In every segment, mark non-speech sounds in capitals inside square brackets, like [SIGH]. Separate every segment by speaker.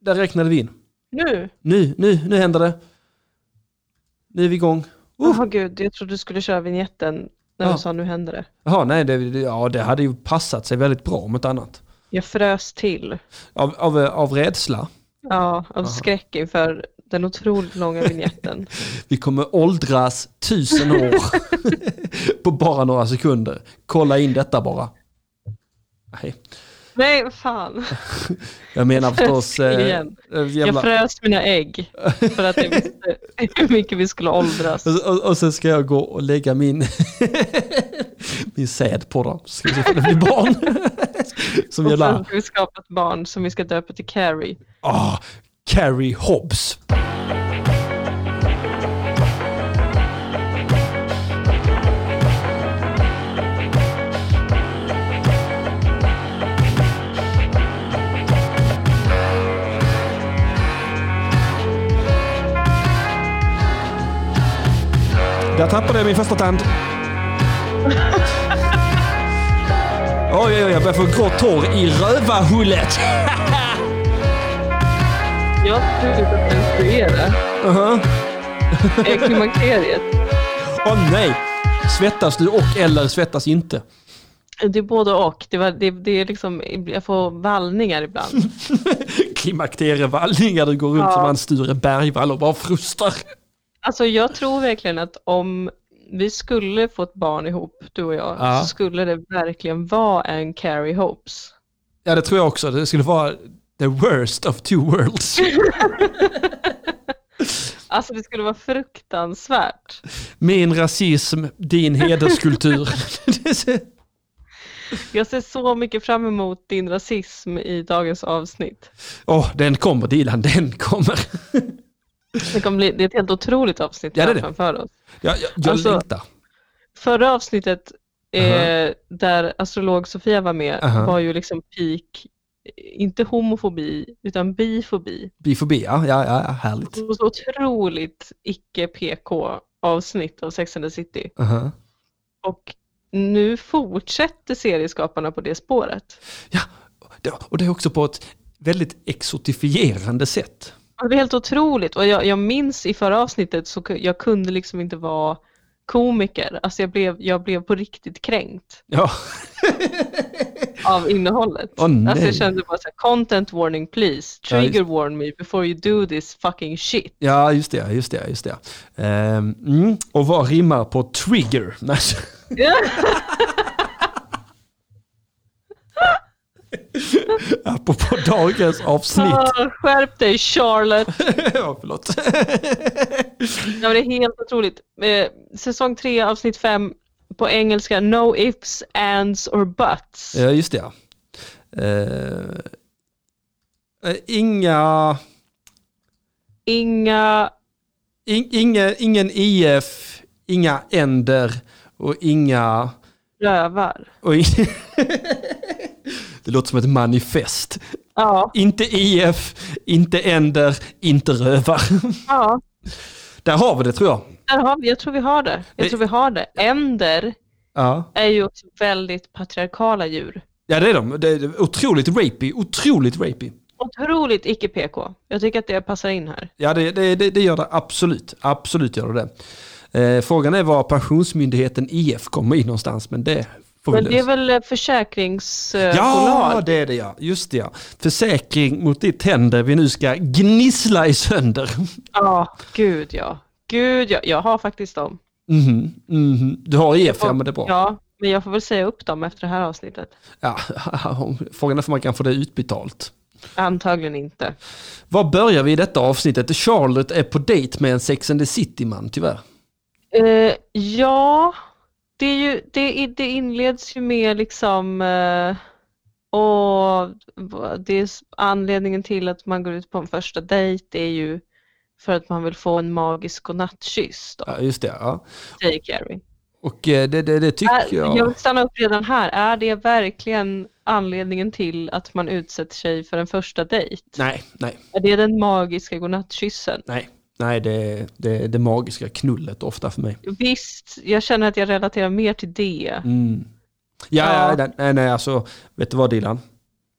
Speaker 1: Där räknade vi in.
Speaker 2: Nu?
Speaker 1: Nu, nu, nu händer det. Nu är vi igång.
Speaker 2: Åh
Speaker 1: Uh!
Speaker 2: gud, jag trodde du skulle köra vignetten när
Speaker 1: Ja.
Speaker 2: du sa nu händer det.
Speaker 1: Jaha, nej, det, det- ja, det hade ju passat sig väldigt bra om ett annat.
Speaker 2: Jag frös till
Speaker 1: Av, av, eh, av rädsla.
Speaker 2: ja, av skräck inför den otroligt långa
Speaker 1: [LAUGHS]
Speaker 2: vignetten.
Speaker 1: Vi kommer åldras tusen [LAUGHS] år på bara några sekunder. Kolla in detta bara. Nej,
Speaker 2: Nej, fan.
Speaker 1: jag menar förstås... eh,
Speaker 2: Igen.
Speaker 1: eh,
Speaker 2: Jag
Speaker 1: jävla,
Speaker 2: frös mina ägg för att jag visste [LAUGHS] hur mycket vi skulle åldras.
Speaker 1: och, och, och sen ska jag gå och lägga min, [LAUGHS] min säd på dem. Ska vi se om det blir
Speaker 2: [LAUGHS]
Speaker 1: barn. Som
Speaker 2: Och sen
Speaker 1: jävla...
Speaker 2: ska vi skapa ett barn som vi ska döpa till Carrie.
Speaker 1: Ah, Carrie Hobbs. Där tappade jag min första tand. Oj, oj, oj, jag börjar få grått hår i rövahullet.
Speaker 2: Jag trodde att menstruera
Speaker 1: Uh-huh.
Speaker 2: är klimakteriet.
Speaker 1: Åh nej! Svettas du och eller svettas inte?
Speaker 2: Det är både och. Det, var, det, det är liksom, jag får vallningar ibland.
Speaker 1: Klimakterievallningar, du går runt
Speaker 2: Ja.
Speaker 1: som en Sture Bergvall och bara frustar.
Speaker 2: Alltså jag tror verkligen att om vi skulle få ett barn ihop, du och jag,
Speaker 1: Ja.
Speaker 2: så skulle det verkligen vara en Carrie Hopes.
Speaker 1: Ja, det tror jag också. Det skulle vara the worst of two worlds.
Speaker 2: Alltså det skulle vara fruktansvärt.
Speaker 1: Min rasism, din hederskultur. [LAUGHS]
Speaker 2: Jag ser så mycket fram emot din rasism i dagens avsnitt.
Speaker 1: Åh, den kommer Dilan, den kommer.
Speaker 2: Det, kommer bli, det är ett helt otroligt avsnitt
Speaker 1: Ja, det är det.
Speaker 2: framför oss.
Speaker 1: Jag, jag, jag
Speaker 2: Alltså-
Speaker 1: längtar.
Speaker 2: Förra avsnittet eh,
Speaker 1: Aha.
Speaker 2: där astrolog Sofia var med
Speaker 1: Aha.
Speaker 2: var ju liksom peak, inte homofobi utan bifobi.
Speaker 1: Bifobi, ja, ja, ja, ja, härligt.
Speaker 2: Så så otroligt icke-PK avsnitt av Sex and the City.
Speaker 1: Aha.
Speaker 2: Och nu fortsätter serieskaparna på det spåret.
Speaker 1: Ja, det- och det är också på ett väldigt exotifierande sätt.
Speaker 2: Och Alltså, Det är helt otroligt och jag, jag minns i förra avsnittet så ku- jag kunde liksom inte vara komiker. Alltså jag blev, jag blev på riktigt kränkt
Speaker 1: Ja,
Speaker 2: av innehållet.
Speaker 1: Åh, nej.
Speaker 2: alltså jag kände bara så här, content warning please,
Speaker 1: Ja, just-
Speaker 2: trigger warn me before you do this
Speaker 1: [LAUGHS]
Speaker 2: fucking shit.
Speaker 1: ja just det, just det, just det. Ehm, mm, och vad rimmar på trigger? [LAUGHS] Nej, Apropå dagens avsnitt.
Speaker 2: Ah, skärp dig Charlotte!
Speaker 1: [LAUGHS] ja, förlåt.
Speaker 2: Ja, men det är helt otroligt. Eh, säsong 3 avsnitt 5 på engelska no ifs, ands or buts.
Speaker 1: ja, just det. ja. Eh, eh, inga,
Speaker 2: Inga
Speaker 1: in, inga, ingen IF, inga änder och inga...
Speaker 2: rövar.
Speaker 1: Och in, [LAUGHS] det låter som ett manifest.
Speaker 2: Ja,
Speaker 1: Inte IF, inte änder, inte rövar. [LAUGHS]
Speaker 2: ja.
Speaker 1: Där har vi det tror jag.
Speaker 2: Där har vi, jag tror vi har det. Jag
Speaker 1: Det-
Speaker 2: tror vi har det. Änder
Speaker 1: Ja,
Speaker 2: är ju också väldigt patriarkala djur.
Speaker 1: ja det är de. Det är otroligt rapey, otroligt rapey.
Speaker 2: Otroligt icke-PK. Jag tycker att det passar in här.
Speaker 1: Ja, det, det, det, det gör det absolut. Absolut gör det det. Eh, frågan är var Pensionsmyndigheten IF kommer in någonstans, men det får vi
Speaker 2: Men det är
Speaker 1: lösa.
Speaker 2: väl eh, försäkringsbolag?
Speaker 1: Ja, det är det ja. Just det ja. Försäkring mot de tänder vi nu ska gnissla i sönder. [LAUGHS]
Speaker 2: ja, gud ja. Gud ja, jag har faktiskt dem.
Speaker 1: Mhm, mhm. Du har IF, ja men det är bra.
Speaker 2: Ja, men jag får väl säga upp dem efter det här avsnittet.
Speaker 1: Ja. [LAUGHS] Frågan är om man kan få det utbetalt.
Speaker 2: Antagligen inte.
Speaker 1: Var börjar vi i detta avsnittet? Charlotte är på dejt med en Sex and the City-man tyvärr.
Speaker 2: Eh, ja, det, är ju, det, är- det inleds ju med liksom eh, och v- det är s- anledningen till att man går ut på en första dejt är ju för att man vill få en magisk godnattkyss då,
Speaker 1: Ja, just det. Ja.
Speaker 2: säger Carrie.
Speaker 1: Och eh, det, det, det tycker
Speaker 2: Är, jag
Speaker 1: jag.
Speaker 2: vill stanna upp redan här. Är det verkligen anledningen till att man utsätter sig för en första dejt?
Speaker 1: Nej, nej.
Speaker 2: Är det den magiska godnattkyssen?
Speaker 1: Nej, nej det, det, det magiska knullet ofta för mig.
Speaker 2: Visst, jag känner att jag relaterar mer till det.
Speaker 1: Mm. Ja, ja.
Speaker 2: Ja.
Speaker 1: nej, nej, nej, alltså, vet du vad Dilan?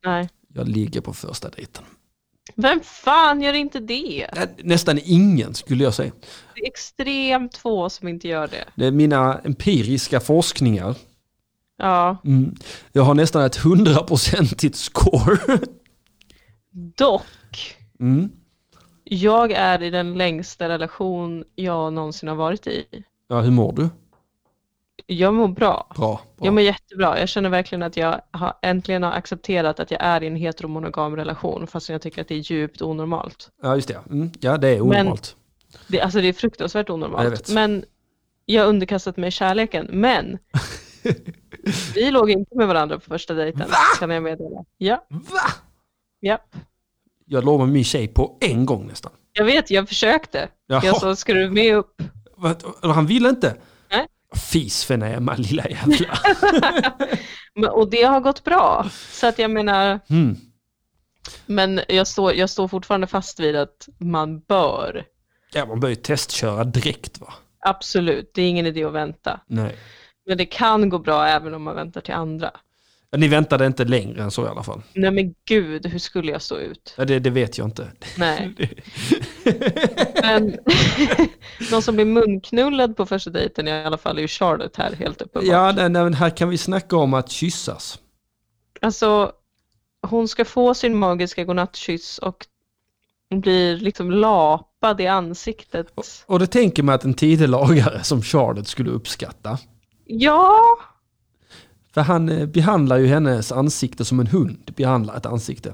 Speaker 2: Nej.
Speaker 1: Jag ligger på första dejten.
Speaker 2: Vem fan gör inte det?
Speaker 1: Nä- Nästan ingen skulle jag säga.
Speaker 2: Det är extremt få som inte gör det.
Speaker 1: Det är mina empiriska forskningar.
Speaker 2: Ja.
Speaker 1: Mm. Jag har nästan ett hundraprocentigt score. [LAUGHS]
Speaker 2: Dock,
Speaker 1: Mm.
Speaker 2: jag är i den längsta relation jag någonsin har varit i.
Speaker 1: Ja, hur mår du?
Speaker 2: Jag mår bra.
Speaker 1: Bra. bra.
Speaker 2: Jag mår jättebra. Jag känner verkligen att jag har, äntligen har accepterat att jag är i en heteromonogam relation fast jag tycker att det är djupt onormalt.
Speaker 1: Ja, just det. Mm. Ja, det är onormalt.
Speaker 2: Det, alltså det är fruktansvärt
Speaker 1: Ja, jag
Speaker 2: onormalt.
Speaker 1: vet.
Speaker 2: men jag har underkastat mig kärleken. [LAUGHS] Men vi låg inte med varandra på första dejten. Kan jag meddela. Ja,
Speaker 1: Va?
Speaker 2: ja.
Speaker 1: Jag låg med min tjej på en gång nästan.
Speaker 2: Jag vet, jag försökte.
Speaker 1: Jaha.
Speaker 2: Jag sa, ska du med upp?
Speaker 1: Va? Han ville inte.
Speaker 2: Nej.
Speaker 1: Fisfenäma lilla
Speaker 2: [LAUGHS]
Speaker 1: jävla.
Speaker 2: Men- Och det har gått bra. Så att jag menar,
Speaker 1: Mm.
Speaker 2: men jag står, jag står fortfarande fast vid att man bör.
Speaker 1: Ja, man börjar ju testköra direkt va?
Speaker 2: Absolut, det är ingen idé att vänta.
Speaker 1: Nej.
Speaker 2: Men det kan gå bra även om man väntar till andra.
Speaker 1: Ja, Ni väntade inte längre än så i alla fall.
Speaker 2: Nej men gud, hur skulle jag stå ut?
Speaker 1: Ja, det, det vet jag
Speaker 2: [LAUGHS]
Speaker 1: inte.
Speaker 2: Nej. Men [LAUGHS] någon som blir munknullad på första dejten i alla fall är ju Charlotte här helt uppenbart.
Speaker 1: Ja, nej, nej, men här kan vi snacka om att kyssas.
Speaker 2: Alltså, hon ska få sin magiska godnattkyss och blir liksom lapad i ansiktet.
Speaker 1: Och det tänker man att en tidelagare som Charlotte skulle uppskatta.
Speaker 2: Ja,
Speaker 1: För han eh, behandlar ju hennes ansikte som en hund behandlar ett ansikte.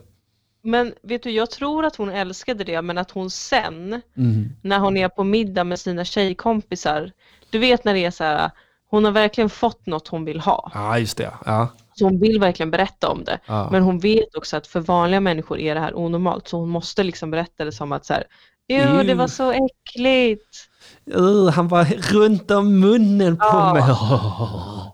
Speaker 2: men vet du, jag tror att hon älskade det, men att hon sen,
Speaker 1: Mm.
Speaker 2: när hon är på middag med sina tjejkompisar, du vet när det är så här, hon har verkligen fått något hon vill ha.
Speaker 1: Ja, just det. Ja.
Speaker 2: Så hon vill verkligen berätta om det.
Speaker 1: Ja.
Speaker 2: Men hon vet också att för vanliga människor är det här onormalt, så hon måste liksom berätta det som att så här, Jo, det
Speaker 1: Ew.
Speaker 2: var så äckligt.
Speaker 1: Uh, han var runt om munnen på
Speaker 2: Ja.
Speaker 1: mig.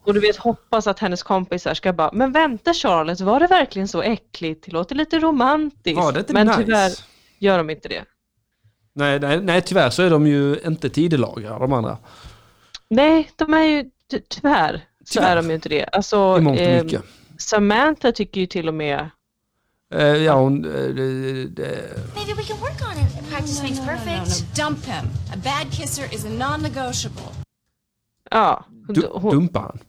Speaker 2: Och du vet hoppas att hennes kompisar ska bara, men vänta Charlotte, var det verkligen så äckligt? Det låter lite romantiskt.
Speaker 1: Var det inte
Speaker 2: men
Speaker 1: nice?
Speaker 2: tyvärr gör de inte det.
Speaker 1: Nej, nej, nej, tyvärr så är de ju inte tidelagare de andra.
Speaker 2: Nej, de är ju, ty- tyvärr, så
Speaker 1: Tyvärr.
Speaker 2: är de ju inte det. Alltså,
Speaker 1: I mångt och
Speaker 2: ehm,
Speaker 1: mycket.
Speaker 2: Samantha tycker ju till och med,
Speaker 1: Eh, ja, hon... eh, det- det-
Speaker 3: Maybe we can work on it. Practice makes perfect.
Speaker 4: Dump him. A bad kisser is a non-negotiable.
Speaker 2: ja, hon,
Speaker 1: du,
Speaker 2: hon,
Speaker 1: dumpar han.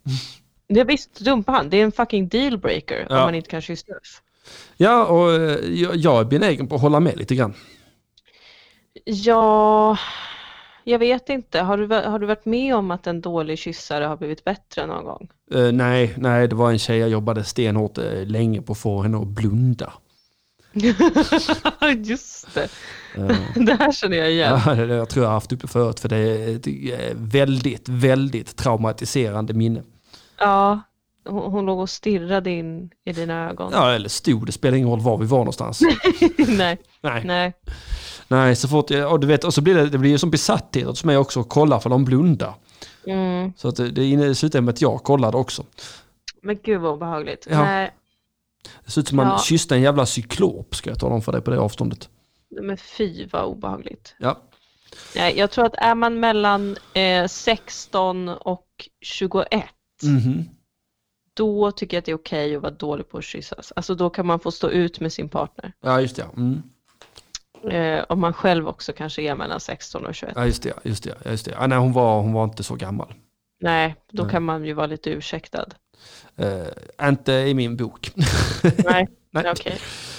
Speaker 2: ja, visst dumpa han, det är en fucking dealbreaker om
Speaker 1: Ja.
Speaker 2: man inte kan kyssa.
Speaker 1: Ja, och eh, jag, jag är benägen på att hålla med lite grann.
Speaker 2: Ja, jag vet inte, har du, va- har du varit med om att en dålig kyssare har blivit bättre någon gång? [LAUGHS]
Speaker 1: Eh, nej, nej, det var en tjej jag jobbade stenhårt eh, länge på att få henne att blunda.
Speaker 2: Just det,
Speaker 1: Eh,
Speaker 2: [LAUGHS] det här känner jag igen.
Speaker 1: Ja, [LAUGHS] det- det- jag tror jag har haft uppe förut för det är ett eh, väldigt, väldigt traumatiserande minne.
Speaker 2: Ja, hon, hon låg och stirrade in i dina ögon.
Speaker 1: Ja, eller stod, det spelar ingen roll var vi var någonstans.
Speaker 2: [LAUGHS] nej,
Speaker 1: [LAUGHS] Nej,
Speaker 2: nej.
Speaker 1: nej, så fort jag, och du vet, och så blir det, det blir ju som besatthet hos mig också att kolla för de blundar.
Speaker 2: Mm.
Speaker 1: Så att det, det inne- det slutade med att jag kollade också.
Speaker 2: Men gud vad obehagligt.
Speaker 1: Ja.
Speaker 2: Nej,
Speaker 1: Det ser ut som man
Speaker 2: Ja.
Speaker 1: kysste en jävla cyklop, ska jag tala om för dig på det avståndet.
Speaker 2: men fy vad obehagligt.
Speaker 1: Ja,
Speaker 2: Nej, jag tror att är man mellan eh, 16 och 21,
Speaker 1: Mhm.
Speaker 2: då tycker jag att det är okej att vara dålig på att kyssas. Alltså då kan man få stå ut med sin partner.
Speaker 1: ja just det. ja. Mm.
Speaker 2: Eh, om man själv också kanske är mellan 16 och 21.
Speaker 1: Ja, just det. ja, Just det, ja, just det. Ja, nej, hon var, hon var inte så gammal.
Speaker 2: Nej, då
Speaker 1: Nej.
Speaker 2: kan man ju vara lite ursäktad.
Speaker 1: Eh, inte i min bok. [LAUGHS]
Speaker 2: [LAUGHS] Nej,
Speaker 1: Nej.
Speaker 2: Okej.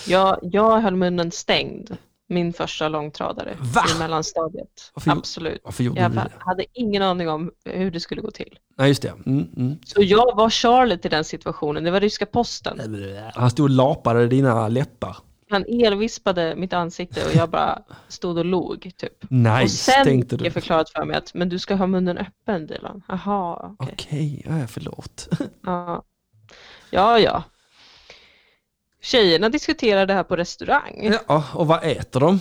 Speaker 2: Jag, jag höll munnen stängd min första långtradare
Speaker 1: Va?
Speaker 2: i mellanstadiet.
Speaker 1: Varför gjorde-
Speaker 2: Absolut.
Speaker 1: Varför gjorde
Speaker 2: Jag
Speaker 1: du det?
Speaker 2: hade ingen aning om hur det skulle gå till.
Speaker 1: Nej, just det. Mm, mm.
Speaker 2: Så jag var Charlotte i den situationen. Det var ryska posten.
Speaker 1: Han stod och lapade dina läppar.
Speaker 2: Han elvispade mitt ansikte och jag bara stod och log. Typ. och
Speaker 1: Nice,
Speaker 2: sen
Speaker 1: tänkte
Speaker 2: fick
Speaker 1: du.
Speaker 2: jag förklarat för mig att men du ska ha munnen öppen Dylan. Jaha, okej.
Speaker 1: Okej, ja, förlåt.
Speaker 2: Ja. ja, ja. Tjejerna diskuterar det här på restaurang.
Speaker 1: [LAUGHS] Ja, och vad äter de?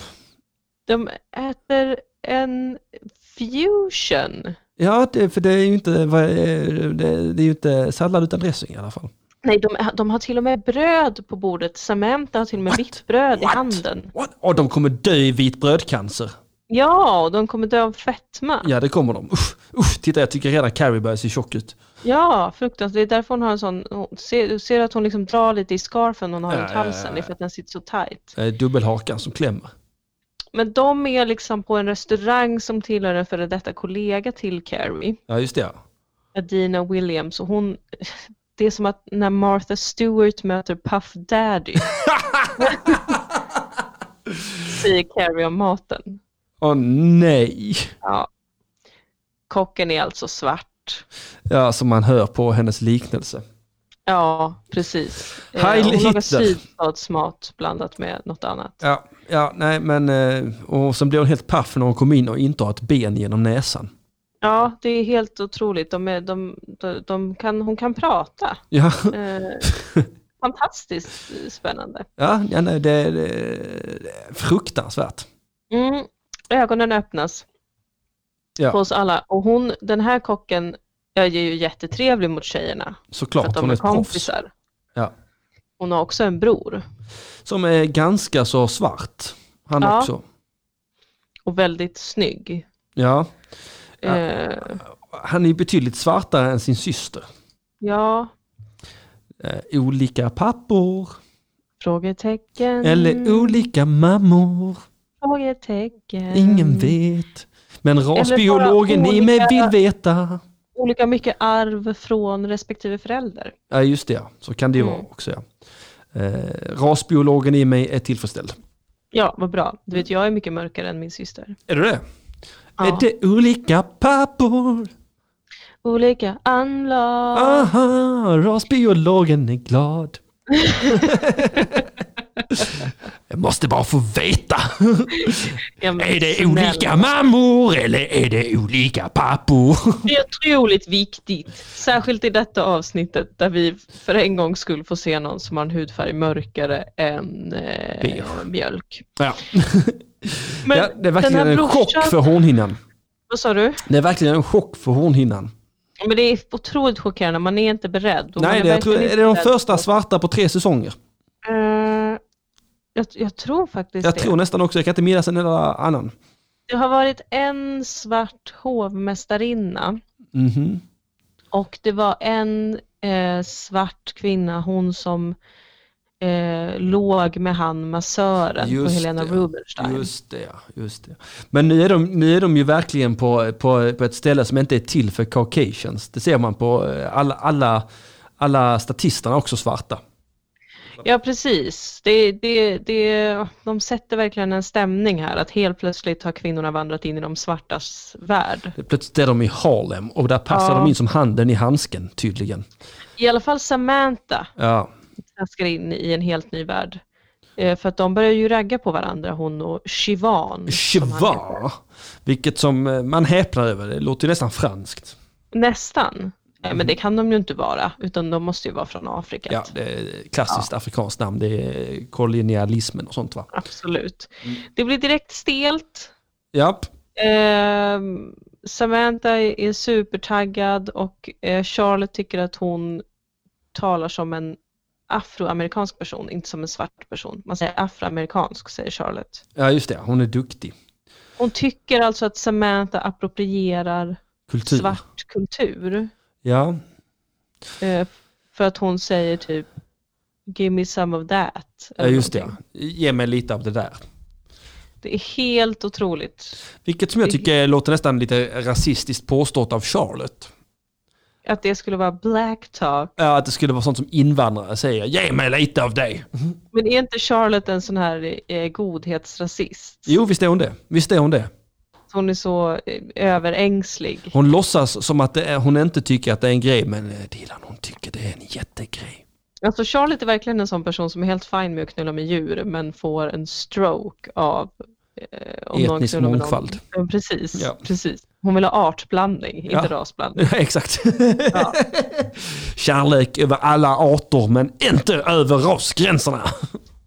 Speaker 2: De äter en fusion.
Speaker 1: Ja, det, för det är ju inte, vad är- det, det är ju inte sallad utan dressing i alla fall.
Speaker 2: Nej, de, de har till och med bröd på bordet. Samantha har till och med
Speaker 1: What?
Speaker 2: vitt bröd i
Speaker 1: What?
Speaker 2: handen.
Speaker 1: What? Och de kommer dö i vitbrödcancer.
Speaker 2: Ja, och de kommer dö av fetma. Ja,
Speaker 1: Ja, det kommer de. Usch, usch, titta jag tycker redan Carrie börjar se tjock ut.
Speaker 2: fruktansvärt. Det är därför hon har en sån... Hon ser, du ser att hon liksom drar lite i scarfen hon har
Speaker 1: Ja,
Speaker 2: runt
Speaker 1: ja, ja,
Speaker 2: halsen. Det är för att den sitter så tight.
Speaker 1: Eh, dubbelhakan som klämmer.
Speaker 2: Men de är liksom på en restaurang som tillhör en före detta kollega till Carrie.
Speaker 1: Ja, just det. ja.
Speaker 2: Adina Williams. Och hon... [LAUGHS] Det är som att när Martha Stewart möter Puff
Speaker 1: [LAUGHS]
Speaker 2: Daddy. Säger Carrie om maten.
Speaker 1: Åh nej.
Speaker 2: Ja. Kocken är alltså svart.
Speaker 1: Ja, som man hör på hennes liknelse.
Speaker 2: Ja, precis. Eh,
Speaker 1: Heil
Speaker 2: Hon lagar
Speaker 1: Hitler.
Speaker 2: sydstatsmat blandat med något annat.
Speaker 1: Ja, ja nej men eh, och sen blev hon helt paff när hon kom in och inte har ett ben genom näsan.
Speaker 2: Ja, det är helt otroligt. De är, de, de, de kan, hon kan prata.
Speaker 1: Ja,
Speaker 2: Eh, fantastiskt eh, spännande.
Speaker 1: [LAUGHS] ja, ja nej, det, det, det är fruktansvärt.
Speaker 2: Mm. Ögonen öppnas
Speaker 1: Ja.
Speaker 2: på oss alla. Och hon, den här kocken är ju jättetrevlig mot tjejerna. för
Speaker 1: Såklart,
Speaker 2: att
Speaker 1: hon
Speaker 2: de
Speaker 1: är
Speaker 2: är
Speaker 1: ett proffs.
Speaker 2: kompisar.
Speaker 1: Ja.
Speaker 2: Hon har också en bror.
Speaker 1: Som är ganska så svart. Han
Speaker 2: Ja.
Speaker 1: också.
Speaker 2: Och väldigt snygg.
Speaker 1: Ja, Ja.
Speaker 2: Eh,
Speaker 1: han är ju betydligt svartare än sin syster.
Speaker 2: ja,
Speaker 1: Eh, olika pappor.
Speaker 2: frågetecken.
Speaker 1: Eller olika mammor.
Speaker 2: Frågetecken.
Speaker 1: Ingen vet. Men rasbiologen
Speaker 2: Mm. bara
Speaker 1: i mig vill
Speaker 2: olika-
Speaker 1: veta.
Speaker 2: Olika mycket arv från respektive förälder.
Speaker 1: Ja, just det. ja. Så kan det ju
Speaker 2: Mm.
Speaker 1: vara också. Ja. Eh, rasbiologen i mig är tillfredsställd.
Speaker 2: Ja, vad bra. Du vet, jag är mycket mörkare än min syster.
Speaker 1: Är du det?
Speaker 2: Ja.
Speaker 1: Är det olika pappor?
Speaker 2: Olika anlag.
Speaker 1: Ah, Aha, rasbiologen är
Speaker 2: [LAUGHS]
Speaker 1: glad. Jag måste bara få veta.
Speaker 2: Ja, men
Speaker 1: Är det
Speaker 2: snälla.
Speaker 1: olika mammor eller är det olika pappor?
Speaker 2: Det är otroligt viktigt. Särskilt i detta avsnittet där vi för en gång skulle få se någon som har en hudfärg mörkare än eh,
Speaker 1: Beige.
Speaker 2: mjölk.
Speaker 1: Ja.
Speaker 2: Men
Speaker 1: ja, det är verkligen
Speaker 2: den här
Speaker 1: en chock
Speaker 2: brorsan-
Speaker 1: för hornhinnan.
Speaker 2: Vad sa du?
Speaker 1: Det är verkligen en chock för hornhinnan.
Speaker 2: Men det är otroligt chockerande. Man är inte beredd. Och man
Speaker 1: Nej, det, jag tror,
Speaker 2: verkligen
Speaker 1: är det de
Speaker 2: inte beredd.
Speaker 1: första svarta på tre säsonger?
Speaker 2: Eh, jag, jag tror faktiskt
Speaker 1: Jag
Speaker 2: det.
Speaker 1: tror nästan också, jag kan inte minnas en enda annan.
Speaker 2: Det har varit en svart hovmästarinna
Speaker 1: Mhm.
Speaker 2: och det var en eh, svart kvinna, hon som eh, låg med han massören på
Speaker 1: Just
Speaker 2: Helena
Speaker 1: det.
Speaker 2: Rubinstein.
Speaker 1: Just det, ja, just det. Men nu är de, nu är de ju verkligen på, på, på ett ställe som inte är till för caucasians. Det ser man på eh, alla, alla, alla statisterna är också svarta.
Speaker 2: Ja precis, det, det, det, de sätter verkligen en stämning här att helt plötsligt har kvinnorna vandrat in i de svartas värld.
Speaker 1: Det är Plötsligt är de i Harlem och där passar
Speaker 2: Ja.
Speaker 1: de in som handen i handsken tydligen.
Speaker 2: I alla fall Samantha
Speaker 1: Ja,
Speaker 2: traskar in i en helt ny värld. Eh, för att de börjar ju ragga på varandra, hon och Shivan. som han heter.
Speaker 1: Chiva, vilket som eh, man häpnar över, det låter ju nästan franskt.
Speaker 2: Nästan. Nej, men det kan de ju inte vara, utan de måste ju vara från Afrika.
Speaker 1: Mhm. Ja, det är klassiskt afrikanskt namn, det är kolonialismen och sånt va?
Speaker 2: Absolut.
Speaker 1: Mm.
Speaker 2: Det blir direkt stelt.
Speaker 1: Ja,
Speaker 2: Ehm, Samantha är supertaggad och eh, Charlotte tycker att hon talar som en afroamerikansk person, inte som en svart person. Man säger afroamerikansk, säger Charlotte.
Speaker 1: ja just det, hon är duktig.
Speaker 2: Hon tycker alltså att Samantha approprierar
Speaker 1: Kultur.
Speaker 2: svart kultur.
Speaker 1: Ja,
Speaker 2: Eh, för att hon säger typ Give me some of that.
Speaker 1: ja,
Speaker 2: eller
Speaker 1: just
Speaker 2: någonting.
Speaker 1: det. Ge mig lite av det där.
Speaker 2: Det är helt otroligt
Speaker 1: Vilket som jag tycker låter nästan lite rasistiskt påstått av Charlotte.
Speaker 2: att det skulle vara black talk.
Speaker 1: Ja, Att det skulle vara sånt som invandrare säger, ge mig lite av dig.
Speaker 2: Men är inte Charlotte en sån här eh, godhetsrasist?
Speaker 1: Jo, visst är hon det. Visst är hon det.
Speaker 2: Hon är så eh, överängslig.
Speaker 1: Hon låtsas som att det är, hon inte tycker att det är en grej, men eh, Dilan hon tycker det är en jättegrej. [LAUGHS]
Speaker 2: Alltså Charlotte är verkligen en sån person som är helt fin med att knulla med djur men får en stroke av eh, om någon
Speaker 1: Etnisk
Speaker 2: knullar med
Speaker 1: mångfald.
Speaker 2: Någon. Ja, Precis,
Speaker 1: Ja.
Speaker 2: precis. Hon vill ha artblandning,
Speaker 1: Ja.
Speaker 2: inte rasblandning.
Speaker 1: Ja, Exakt.
Speaker 2: Ja.
Speaker 1: [LAUGHS] Kärlek över alla arter, men inte över rasgränserna.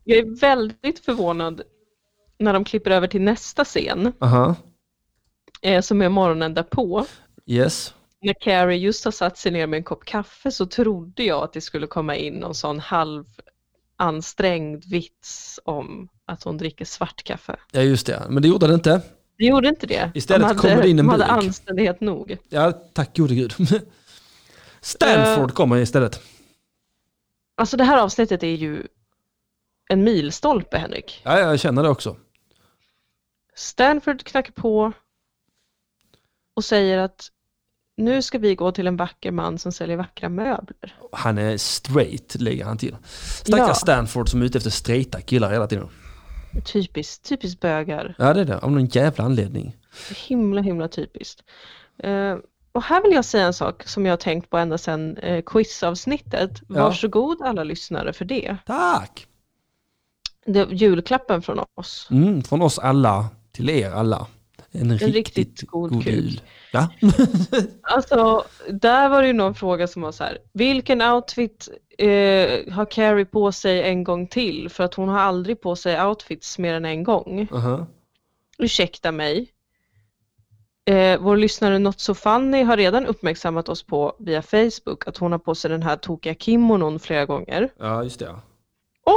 Speaker 2: Jag är väldigt förvånad när de klipper över till nästa scen
Speaker 1: Aha,
Speaker 2: eh, som är morgonen därpå.
Speaker 1: yes.
Speaker 2: när Carrie just har satt sig ner med en kopp kaffe så trodde jag att det skulle komma in någon sån halv ansträngd vits om att hon dricker svart kaffe.
Speaker 1: Ja, just det. Men det gjorde det inte.
Speaker 2: Det gjorde inte det.
Speaker 1: Istället
Speaker 2: de hade,
Speaker 1: kommer det in en
Speaker 2: de hade
Speaker 1: burk.
Speaker 2: anständighet nog.
Speaker 1: Ja, tack gode gud. [LAUGHS] Stanford kommer istället.
Speaker 2: Alltså det här avsnittet är ju en milstolpe Henrik.
Speaker 1: Ja, jag känner det också.
Speaker 2: Stanford knackar på och säger att nu ska vi gå till en vacker man som säljer vackra möbler.
Speaker 1: Han är straight, lägger han till. Stackars
Speaker 2: Ja.
Speaker 1: Stanford som är ute efter straighta killar hela tiden.
Speaker 2: Typiskt, typiskt bögar.
Speaker 1: Ja, det är det. Av någon jävla anledning.
Speaker 2: Himla himla typiskt. Eh, och här vill jag säga en sak som jag har tänkt på ända sedan eh, quizavsnittet.
Speaker 1: Ja.
Speaker 2: Varsågod alla lyssnare för det.
Speaker 1: Tack!
Speaker 2: det är julklappen från oss.
Speaker 1: Mm, från oss alla till er alla. En, riktigt,
Speaker 2: riktigt god
Speaker 1: god,
Speaker 2: kul.
Speaker 1: jul. Ja.
Speaker 2: Alltså, där var det ju någon fråga som var så här, vilken outfit eh, har Carrie på sig en gång till? För att hon har aldrig på sig outfits mer än en gång.
Speaker 1: Aha.
Speaker 2: Ursäkta mig. Eh, vår lyssnare Not So Funny har redan uppmärksammat oss på via Facebook att hon har på sig den här tokiga kimonon flera gånger.
Speaker 1: Ja, just det. ja.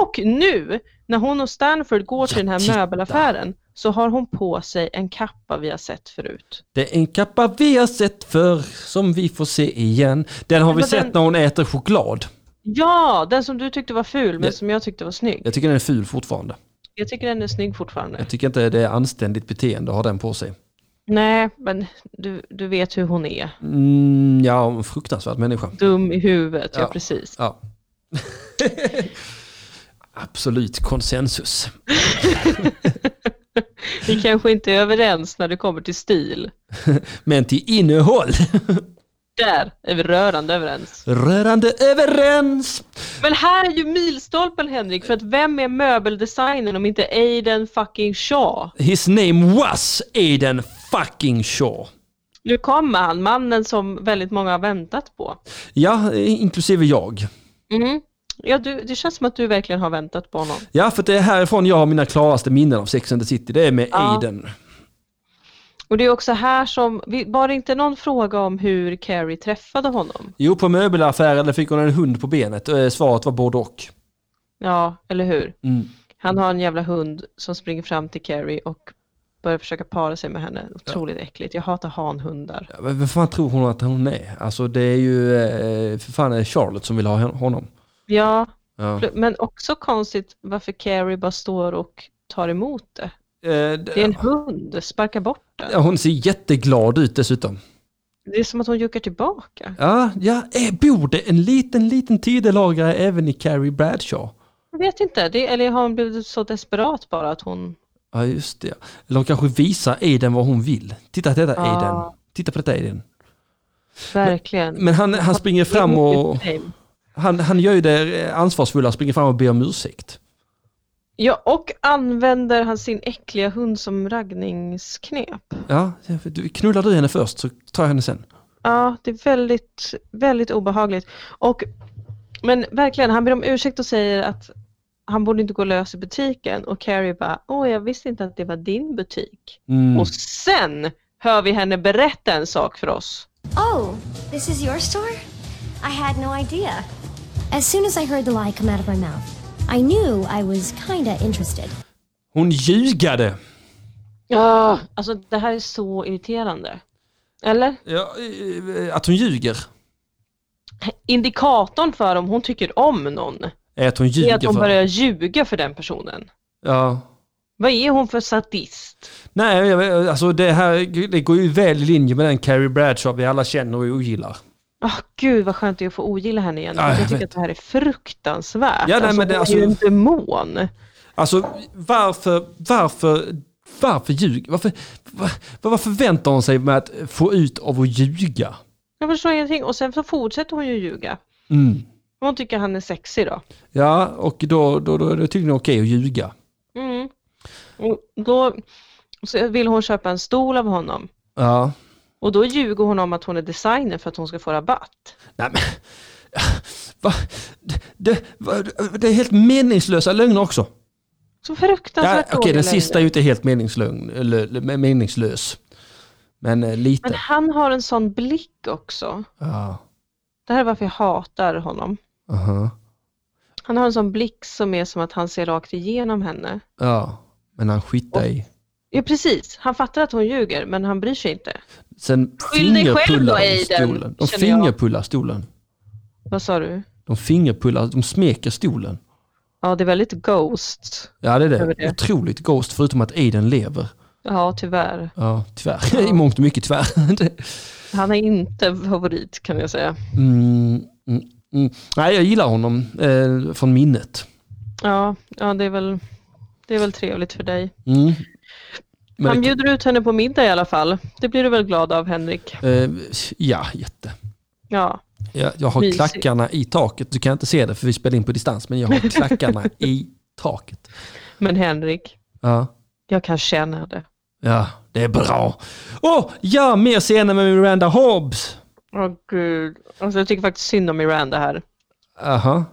Speaker 2: Och nu när hon och Stanford går till den här
Speaker 1: Ja, titta.
Speaker 2: möbelaffären så har hon på sig en kappa vi har sett förut.
Speaker 1: Det är en kappa vi har sett förr som vi får se igen. Den har vi
Speaker 2: Men
Speaker 1: sett
Speaker 2: den-
Speaker 1: när hon äter choklad.
Speaker 2: Ja, den som du tyckte var ful men
Speaker 1: Det-
Speaker 2: som jag tyckte var snygg.
Speaker 1: Jag tycker den är ful fortfarande.
Speaker 2: Jag tycker den är snygg fortfarande.
Speaker 1: Jag tycker inte det är anständigt beteende att ha den på sig.
Speaker 2: Nej, men du, du vet hur hon är.
Speaker 1: Mm, ja, en fruktansvärd människa.
Speaker 2: Dum i huvudet, ja,
Speaker 1: Ja.
Speaker 2: precis.
Speaker 1: Ja. [LAUGHS] Absolut konsensus.
Speaker 2: Vi kanske inte är överens när det kommer till stil.
Speaker 1: Men till innehåll,
Speaker 2: Där är vi rörande överens.
Speaker 1: rörande överens.
Speaker 2: Men här är ju milstolpen Henrik, för att vem är möbeldesignern om inte Aiden fucking Shaw?
Speaker 1: His name was Aiden fucking Shaw.
Speaker 2: Nu kommer han, mannen som väldigt många har väntat på.
Speaker 1: Ja, eh, inklusive jag.
Speaker 2: Mm. Ja, du, det känns som att du verkligen har väntat på honom.
Speaker 1: Ja, för det är härifrån jag har mina klaraste minnen av Sex and the City. Det är med Aiden.
Speaker 2: Och det är också här som, vi- var det inte någon fråga om hur Carrie träffade honom?
Speaker 1: Jo, på möbelaffären där fick hon en hund på benet. Eh, Svaret var både och.
Speaker 2: Ja, eller hur?
Speaker 1: Mm.
Speaker 2: Han har en jävla hund som springer fram till Carrie och börjar försöka para sig med henne. Otroligt äckligt. Jag hatar hanhundar.
Speaker 1: Ja, men Vem fan tror hon att hon är? Alltså det är ju eh, för fan är Charlotte som vill ha hon- honom.
Speaker 2: Ja,
Speaker 1: Ja.
Speaker 2: pl- men också konstigt varför Carrie bara står och tar emot det.
Speaker 1: Eh,
Speaker 2: Det är en
Speaker 1: d-
Speaker 2: hund, sparka bort den.
Speaker 1: ja, hon ser jätteglad ut dessutom.
Speaker 2: Det är som att hon juckar tillbaka.
Speaker 1: Ja, ja eh, bor det en liten, liten tidelagare även i Carrie Bradshaw?
Speaker 2: Jag vet inte, det, eller har hon blivit så desperat bara att hon...
Speaker 1: Ja, just det. Eller hon kanske visar Aiden vad hon vill. Titta på detta
Speaker 2: Ja.
Speaker 1: Aiden. Titta på detta Aiden.
Speaker 2: Verkligen.
Speaker 1: Men han, han springer fram och han, han gör ju det eh, ansvarsfulla, springer fram och ber om ursäkt.
Speaker 2: Ja, och använder han sin äckliga hund som raggningsknep.
Speaker 1: Ja, du- knullar du henne först så tar jag henne sen.
Speaker 2: Ja, det är väldigt, väldigt obehagligt. Och, men verkligen, han ber om ursäkt och säger att han borde inte gå lös i butiken och Carrie bara, åh jag visste inte att det var din butik.
Speaker 1: Mm.
Speaker 2: Och sen hör vi henne berätta en sak för oss.
Speaker 3: Oh, this is your store? I had no idea.
Speaker 5: As soon as I heard the lie come out of my mouth, I knew I was kinda interested.
Speaker 1: Hon ljugade.
Speaker 2: Ja. Alltså det här är så irriterande. Eller?
Speaker 1: Ja, eh, att hon ljuger.
Speaker 2: Indikatorn för om hon tycker om någon
Speaker 1: Är att hon
Speaker 2: är
Speaker 1: ljuger
Speaker 2: att hon
Speaker 1: för
Speaker 2: börjar ljuga för den personen.
Speaker 1: Ja.
Speaker 2: Vad är hon för sadist?
Speaker 1: Nej, jag vet- alltså det här det går ju väl i linje med den Carrie Bradshaw vi alla känner och ogillar.
Speaker 2: Oh, gud vad skönt det är att få ogilla henne igen.
Speaker 1: Ja, jag
Speaker 2: jag tycker
Speaker 1: vet.
Speaker 2: att det här är fruktansvärt.
Speaker 1: Ja, nej, men det-
Speaker 2: hon
Speaker 1: alltså-
Speaker 2: är ju en demon.
Speaker 1: Alltså varför, varför, varför ljuger, varför, va- vad förväntar hon sig med att få ut av att ljuga?
Speaker 2: Jag förstår ingenting. Och sen så fortsätter hon ju ljuga.
Speaker 1: Mm.
Speaker 2: Hon tycker han är sexig då.
Speaker 1: Ja, och då, då, då är det tydligen okej att ljuga.
Speaker 2: Mm. Och då så vill hon köpa en stol av honom.
Speaker 1: Ja.
Speaker 2: Och då ljuger hon om att hon är designer för att hon ska få rabatt.
Speaker 1: Nej men, [LAUGHS] va, det, det, va, det är helt meningslösa lögner också.
Speaker 2: Så
Speaker 1: Ja,
Speaker 2: fruktansvärt
Speaker 1: okej,
Speaker 2: dålig
Speaker 1: den
Speaker 2: lögn.
Speaker 1: sista är ju inte helt meningslögn, eller, eller meningslös. Men eh, lite.
Speaker 2: Men han har en sån blick också.
Speaker 1: Ja.
Speaker 2: Det här är varför jag hatar honom.
Speaker 1: aha.
Speaker 2: Han har en sån blick som är som att han ser rakt igenom henne.
Speaker 1: Ja, men han skitade i.
Speaker 2: Ja precis, han fattar att hon ljuger men han bryr sig inte.
Speaker 1: Sen
Speaker 2: Skyll dig själv då,
Speaker 1: fingerpullar de
Speaker 2: Aiden,
Speaker 1: stolen. De
Speaker 2: känner jag.
Speaker 1: fingerpullar stolen.
Speaker 2: Vad sa du?
Speaker 1: De fingerpullar, de smeker stolen.
Speaker 2: Ja det är väldigt Ghost.
Speaker 1: Ja det är
Speaker 2: Över
Speaker 1: det.
Speaker 2: det.
Speaker 1: Otroligt Ghost förutom att Aiden lever.
Speaker 2: Ja tyvärr.
Speaker 1: Ja, tyvärr. [LAUGHS] I mångt och mycket tyvärr. Det-
Speaker 2: Han är inte favorit kan jag säga.
Speaker 1: mm, mm, mm. Nej, jag gillar honom eh, från minnet.
Speaker 2: Ja, ja det, är väl, det är väl trevligt för dig.
Speaker 1: Mm. Men
Speaker 2: han
Speaker 1: det-
Speaker 2: bjuder ut henne på middag i alla fall. Det blir du väl glad av Henrik?
Speaker 1: eh, ja, jätte.
Speaker 2: Ja,
Speaker 1: Jag, jag har
Speaker 2: Mysigt.
Speaker 1: klackarna i taket. Du kan inte se det för vi spelar in på distans, men jag har [LAUGHS] klackarna i taket.
Speaker 2: men Henrik,
Speaker 1: Ja.
Speaker 2: jag kan känna det.
Speaker 1: Ja, det är bra. Åh, ja, mer scener med Miranda Hobbs.
Speaker 2: Åh gud. Alltså, jag tycker faktiskt synd om Miranda här.
Speaker 1: Aha.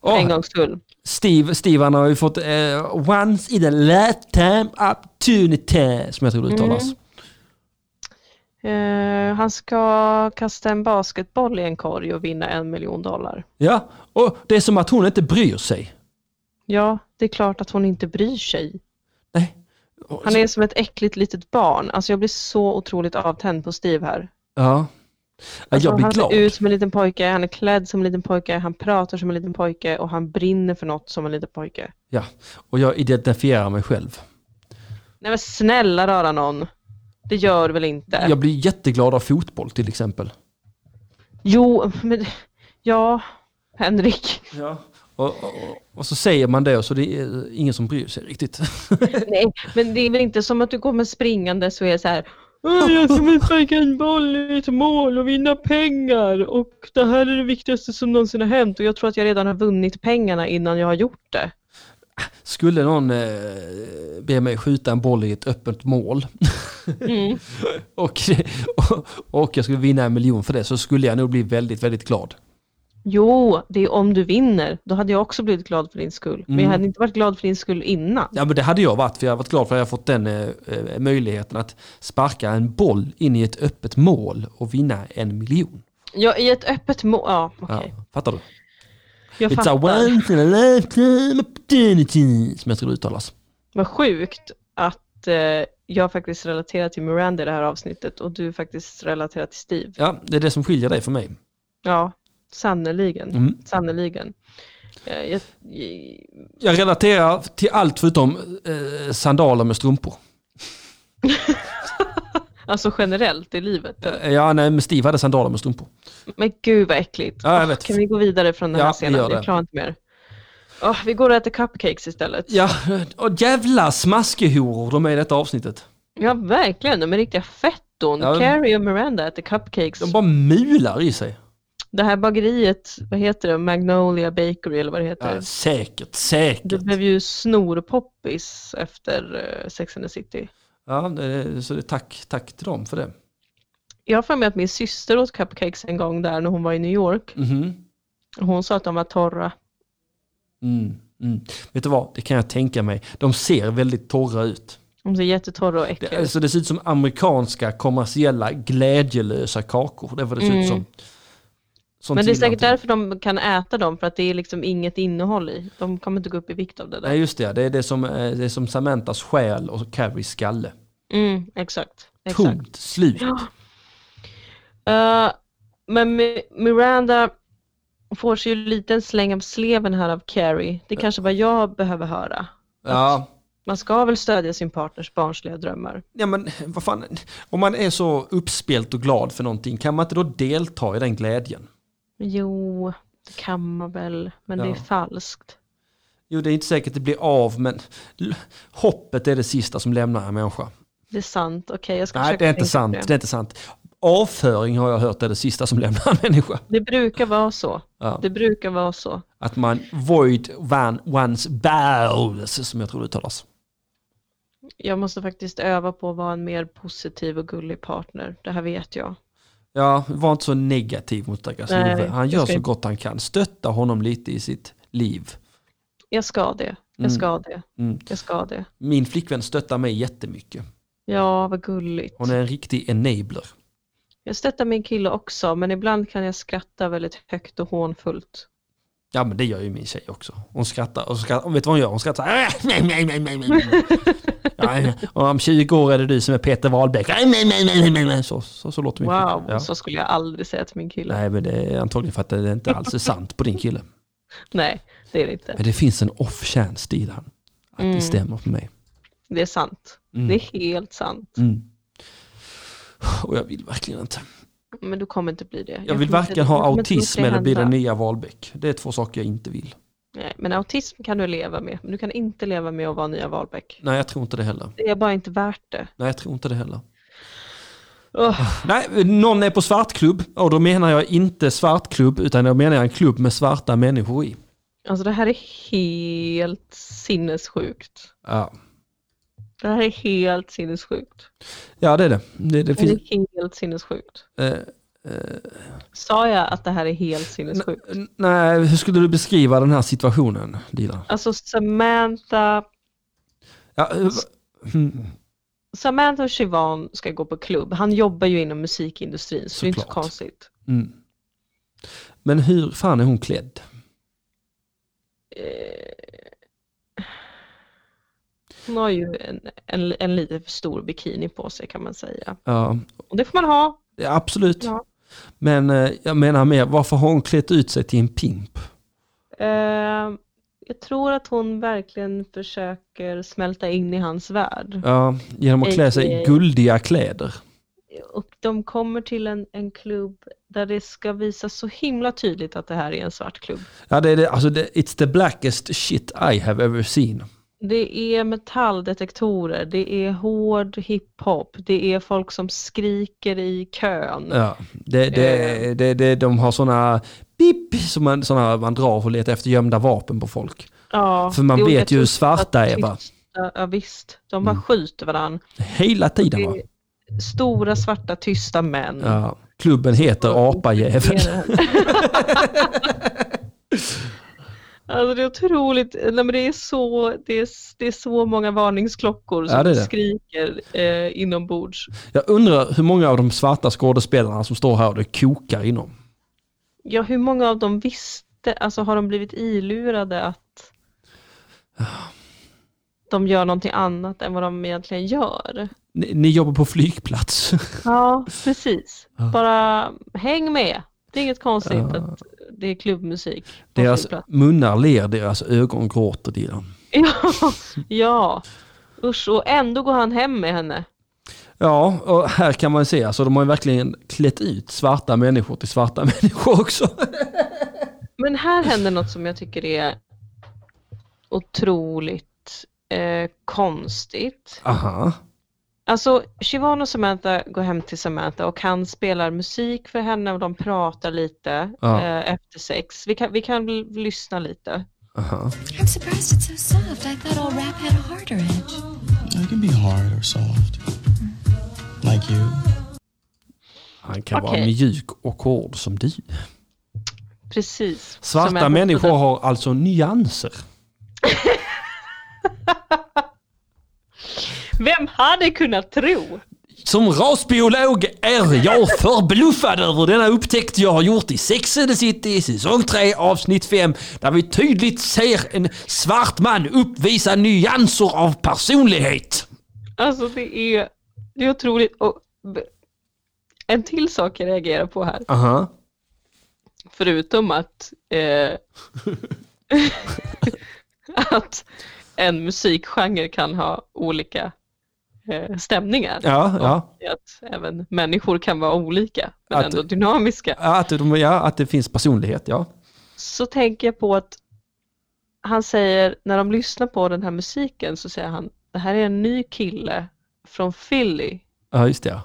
Speaker 2: För En
Speaker 1: Åh,
Speaker 2: gångs skull.
Speaker 1: Steve, Steve han har ju fått eh, Once in a lifetime opportunity, som jag
Speaker 2: Mm.
Speaker 1: tror det uttalas.
Speaker 2: Eh, han ska kasta en basketboll i en korg och vinna en miljon dollar.
Speaker 1: Ja, och det är som att hon inte bryr sig.
Speaker 2: Ja, det är klart att hon inte bryr sig.
Speaker 1: Nej. Och
Speaker 2: Han
Speaker 1: så-
Speaker 2: är som ett äckligt litet barn. Alltså jag blir så otroligt avtänd på Steve här.
Speaker 1: Ja. Ja,
Speaker 2: Alltså,
Speaker 1: jag blir
Speaker 2: han
Speaker 1: glad.
Speaker 2: ser ut som en liten pojke, han är klädd som en liten pojke, han pratar som en liten pojke och han brinner för något som en liten pojke.
Speaker 1: Ja, och jag identifierar mig själv.
Speaker 2: Nej men snälla rara någon. Det gör väl inte?
Speaker 1: Jag blir jätteglad av fotboll till exempel.
Speaker 2: Jo, men ja,
Speaker 1: [LAUGHS]
Speaker 2: Henrik.
Speaker 1: Ja. Och, och, och så säger man det och så det är ingen som bryr sig riktigt.
Speaker 2: Nej, men det är väl inte som att du kommer springande så är så här "Åh, jag ska väl sparka en boll i ett mål och vinna pengar och det här är det viktigaste som någonsin har hänt och jag tror att jag redan har vunnit pengarna innan jag har gjort det.
Speaker 1: Skulle någon eh, be mig skjuta en boll i ett öppet mål
Speaker 2: Mm.
Speaker 1: [LAUGHS] och, och, och jag skulle vinna en miljon för det så skulle jag nog bli väldigt, väldigt glad.
Speaker 2: Jo, det är om du vinner. Då hade jag också blivit glad för din skull. Men
Speaker 1: Mm.
Speaker 2: jag hade inte varit glad för din skull innan.
Speaker 1: Ja men det hade jag varit för jag har varit glad för att jag har fått den eh, eh, möjligheten att sparka en boll in i ett öppet mål och vinna en miljon.
Speaker 2: Ja, I ett öppet mål. Ja, okej.
Speaker 1: Ja, Fattar du?
Speaker 2: Jag
Speaker 1: It's a
Speaker 2: fattar.
Speaker 1: once in a lifetime opportunity som jag tror det uttalas.
Speaker 2: Vad sjukt att eh, jag faktiskt relaterar till Miranda i det här avsnittet och du faktiskt relaterar till Steve.
Speaker 1: Ja, det är det som skiljer dig från mig.
Speaker 2: Ja, sannerligen.
Speaker 1: Mm.
Speaker 2: Sannerligen. Eh, jag, jag,
Speaker 1: Jag relaterar till allt förutom eh, sandaler med strumpor.
Speaker 2: alltså generellt i livet.
Speaker 1: Eh, Ja, nej, men Steve hade sandaler med strumpor.
Speaker 2: Men gud vad äckligt.
Speaker 1: Ja, jag
Speaker 2: Åh,
Speaker 1: vet.
Speaker 2: Kan vi gå vidare från den
Speaker 1: Ja,
Speaker 2: här
Speaker 1: vi gör
Speaker 2: scenen?
Speaker 1: det.
Speaker 2: Jag klarar inte mer. Åh, vi går och äter cupcakes istället.
Speaker 1: Ja, och jävla smaskehoror de är i detta avsnittet.
Speaker 2: Ja, verkligen. De är riktiga fetton.
Speaker 1: Ja.
Speaker 2: Carrie och Miranda äter cupcakes.
Speaker 1: De bara mular i sig.
Speaker 2: Det här bageriet, vad heter det? Magnolia Bakery eller vad det heter.
Speaker 1: Ja, säkert,
Speaker 2: Det
Speaker 1: säkert.
Speaker 2: blev ju snorpoppis efter eh, Sex and the City.
Speaker 1: Ja, det- så det, tack, tack till dem för det.
Speaker 2: Jag har för mig att min syster åt cupcakes en gång där när hon var i New York.
Speaker 1: Mhm.
Speaker 2: Hon sa att de var torra.
Speaker 1: Mm, mm. Vet du vad, det kan jag tänka mig. De ser väldigt torra ut.
Speaker 2: De ser jättetorra och
Speaker 1: Det,
Speaker 2: äckliga ut.
Speaker 1: alltså, det ser ut som amerikanska kommersiella glädjelösa kakor. Det är vad det ser ut som. Sånt
Speaker 2: Mm. Men det är
Speaker 1: gillar
Speaker 2: säkert
Speaker 1: inte jag.
Speaker 2: därför de kan äta dem, för att det är liksom inget innehåll i. De kommer inte gå upp i vikt av det där.
Speaker 1: Nej just det, det är det som, eh, det är som Samantas själ och Carries skalle.
Speaker 2: Mm, exakt. exakt.
Speaker 1: Punkt slut.
Speaker 2: Eh, men Mi- Miranda får sig ju lite en släng av sleven här av Carrie. Det är kanske vad jag behöver höra.
Speaker 1: Ja.
Speaker 2: Man ska väl stödja sin partners barnsliga drömmar.
Speaker 1: ja, men vad fan, om man är så uppspelt och glad för någonting, kan man inte då delta i den glädjen?
Speaker 2: Jo, det kan man väl, men det
Speaker 1: Ja.
Speaker 2: är falskt.
Speaker 1: Jo, det är inte säkert det blir av, men l- hoppet är det sista som lämnar en människa.
Speaker 2: Det är sant, okej jag ska
Speaker 1: Nej,
Speaker 2: försöka
Speaker 1: det är inte
Speaker 2: tänka på
Speaker 1: sant. Det.
Speaker 2: Det.
Speaker 1: är inte sant. Avföring har jag hört är det sista som lämnar en människa.
Speaker 2: det brukar vara så.
Speaker 1: Ja.
Speaker 2: Det brukar vara så.
Speaker 1: Att man void van one's bowels, som jag tror det uttalas.
Speaker 2: Jag måste faktiskt öva på att vara en mer positiv och gullig partner. Det här vet jag.
Speaker 1: Ja, var inte så negativ mot stackars
Speaker 2: Nej,
Speaker 1: Ove. Han
Speaker 2: jag
Speaker 1: gör
Speaker 2: ska
Speaker 1: så
Speaker 2: inte.
Speaker 1: gott han kan. Stötta honom lite i sitt liv.
Speaker 2: Jag ska det.
Speaker 1: Mm.
Speaker 2: Jag ska det.
Speaker 1: Mm.
Speaker 2: Jag ska det.
Speaker 1: Min flickvän stöttar mig jättemycket.
Speaker 2: Ja, vad gulligt.
Speaker 1: Hon är en riktig enabler.
Speaker 2: Jag stöttar min kille också, men ibland kan jag skratta väldigt högt och hånfullt.
Speaker 1: Ja men det gör [LAUGHS] ju min tjej också. Hon skrattar och skrattar. Vet du vad hon gör? Hon skrattar så här. Jag Och om 20 år är det du som är Peter Wahlbeck. Så, så, så låter min kille.
Speaker 2: Wow,
Speaker 1: Ja.
Speaker 2: så skulle jag aldrig säga till min kille. Nej,
Speaker 1: Nej, men det är antagligen för att det inte alls är sant på din kille.
Speaker 2: det är det inte.
Speaker 1: Men det finns en off-chance i den. Att
Speaker 2: Mm.
Speaker 1: det stämmer för mig.
Speaker 2: Det är sant.
Speaker 1: Mm.
Speaker 2: Det är helt sant.
Speaker 1: Och jag vill verkligen inte.
Speaker 2: Men du kommer inte bli det.
Speaker 1: Jag vill varken ha autism eller bli den nya Wahlbeck. Det är två saker jag inte vill.
Speaker 2: Nej, men autism kan du leva med. Men du kan inte leva med att vara nya Wahlbeck.
Speaker 1: Nej, jag tror inte det heller.
Speaker 2: Det är bara inte värt det.
Speaker 1: Nej, jag tror inte det heller.
Speaker 2: Ugh.
Speaker 1: Nej, någon är på svartklubb och då menar jag inte svartklubb utan då menar jag en klubb med svarta människor i.
Speaker 2: Alltså det här är helt sinnessjukt.
Speaker 1: Ja,
Speaker 2: Det här är helt sinnessjukt.
Speaker 1: ja det är det. Det, det
Speaker 2: Det
Speaker 1: finns,
Speaker 2: är helt sinnessjukt.
Speaker 1: eh,
Speaker 2: Sa jag att det här är helt sinnessjukt?
Speaker 1: n- nej, hur skulle du beskriva den här situationen, Dilan?
Speaker 2: Alltså Samantha,
Speaker 1: Ja, eh, mm,
Speaker 2: Samantha och Shivan ska gå på klubb. Han jobbar ju inom musikindustrin så det är inte så
Speaker 1: Såklart.
Speaker 2: konstigt.
Speaker 1: mm. Men hur fan är hon klädd?
Speaker 2: Hon har ju en, en, en lite för stor bikini på sig kan man säga.
Speaker 1: Ja,
Speaker 2: Och det får man ha.
Speaker 1: ja, absolut.
Speaker 2: Ja.
Speaker 1: Men eh, jag menar mer, varför har hon klätt ut sig till en pimp?
Speaker 2: Eh, jag tror att hon verkligen försöker smälta in i hans värld.
Speaker 1: Ja, genom att klä sig i
Speaker 2: Ej.
Speaker 1: guldiga kläder.
Speaker 2: Och de kommer till en, en klubb där det ska visas så himla tydligt att det här är en svart klubb.
Speaker 1: Ja, det är det, alltså det, it's the blackest shit I have ever seen.
Speaker 2: Det är metalldetektorer, det är hård hiphop, det är folk som skriker i kön.
Speaker 1: Ja, det, det, det, det, de har sådana pip som man, såna man drar för att leta efter gömda vapen på folk.
Speaker 2: Ja,
Speaker 1: För man
Speaker 2: det är
Speaker 1: vet
Speaker 2: olika
Speaker 1: ju hur
Speaker 2: typer av
Speaker 1: svarta är, va? Mm.
Speaker 2: tysta- Ja visst, de bara skjuter varandra.
Speaker 1: Hela tiden va?
Speaker 2: Stora svarta tysta män.
Speaker 1: Ja. Klubben heter Apajäveln.
Speaker 2: [LAUGHS] Alltså det är otroligt, nej men det är så, det är, det är så många varningsklockor som
Speaker 1: Ja, det är det.
Speaker 2: skriker eh, inombords.
Speaker 1: Jag undrar hur många av de svarta skådespelarna som står här och det kokar inom.
Speaker 2: Ja, hur många av dem visste, alltså har de blivit ilurade att de gör någonting annat än vad de egentligen gör?
Speaker 1: Ni, ni jobbar på flygplats.
Speaker 2: Ja, precis. Bara häng med. Det är inget konstigt att det är klubbmusik. på
Speaker 1: Deras
Speaker 2: flygplats.
Speaker 1: munnar ler, deras ögon gråter. Dylan.
Speaker 2: [LAUGHS] Ja, ja, usch. Och ändå går han hem med henne.
Speaker 1: Ja, och här kan man se, alltså, de har ju verkligen klätt ut svarta människor till svarta [LAUGHS] människor också.
Speaker 2: Men här händer något som jag tycker är otroligt eh, konstigt.
Speaker 1: Aha.
Speaker 2: Alltså, Siobhan och Samantha går hem till Samantha och han spelar musik för henne och de pratar lite
Speaker 1: Ja.
Speaker 2: eh, efter sex. Vi kan, vi kan väl lyssna lite.
Speaker 1: Aha.
Speaker 4: I'm surprised it's so soft. I thought all rap had a harder edge.
Speaker 6: It can be hard or soft. Like you.
Speaker 1: Han kan vara
Speaker 2: Okej.
Speaker 1: mjuk och hård som du.
Speaker 2: Precis.
Speaker 1: Svarta
Speaker 2: Samantha-
Speaker 1: människor har alltså nyanser.
Speaker 2: Vem hade kunnat tro?
Speaker 1: Som rasbiolog är jag förbluffad över denna upptäckt jag har gjort i Sex and the City säsong 3 avsnitt 5 där vi tydligt ser en svart man uppvisa nyanser av personlighet.
Speaker 2: Alltså det är, det är otroligt. Och, b- en till sak jag reagerar på här,
Speaker 1: Aha.
Speaker 2: förutom att, eh, [LAUGHS] att en musikgenre kan ha olika eh, stämningar.
Speaker 1: Ja, ja.
Speaker 2: Och Att även människor kan vara olika, men
Speaker 1: Att-
Speaker 2: ändå dynamiska.
Speaker 1: Ja, Att, de, ja, att det finns personlighet, ja.
Speaker 2: Så tänker jag på att han säger, när de lyssnar på den här musiken så säger han, det här är en ny kille från Philly
Speaker 1: Ja, just det. ja.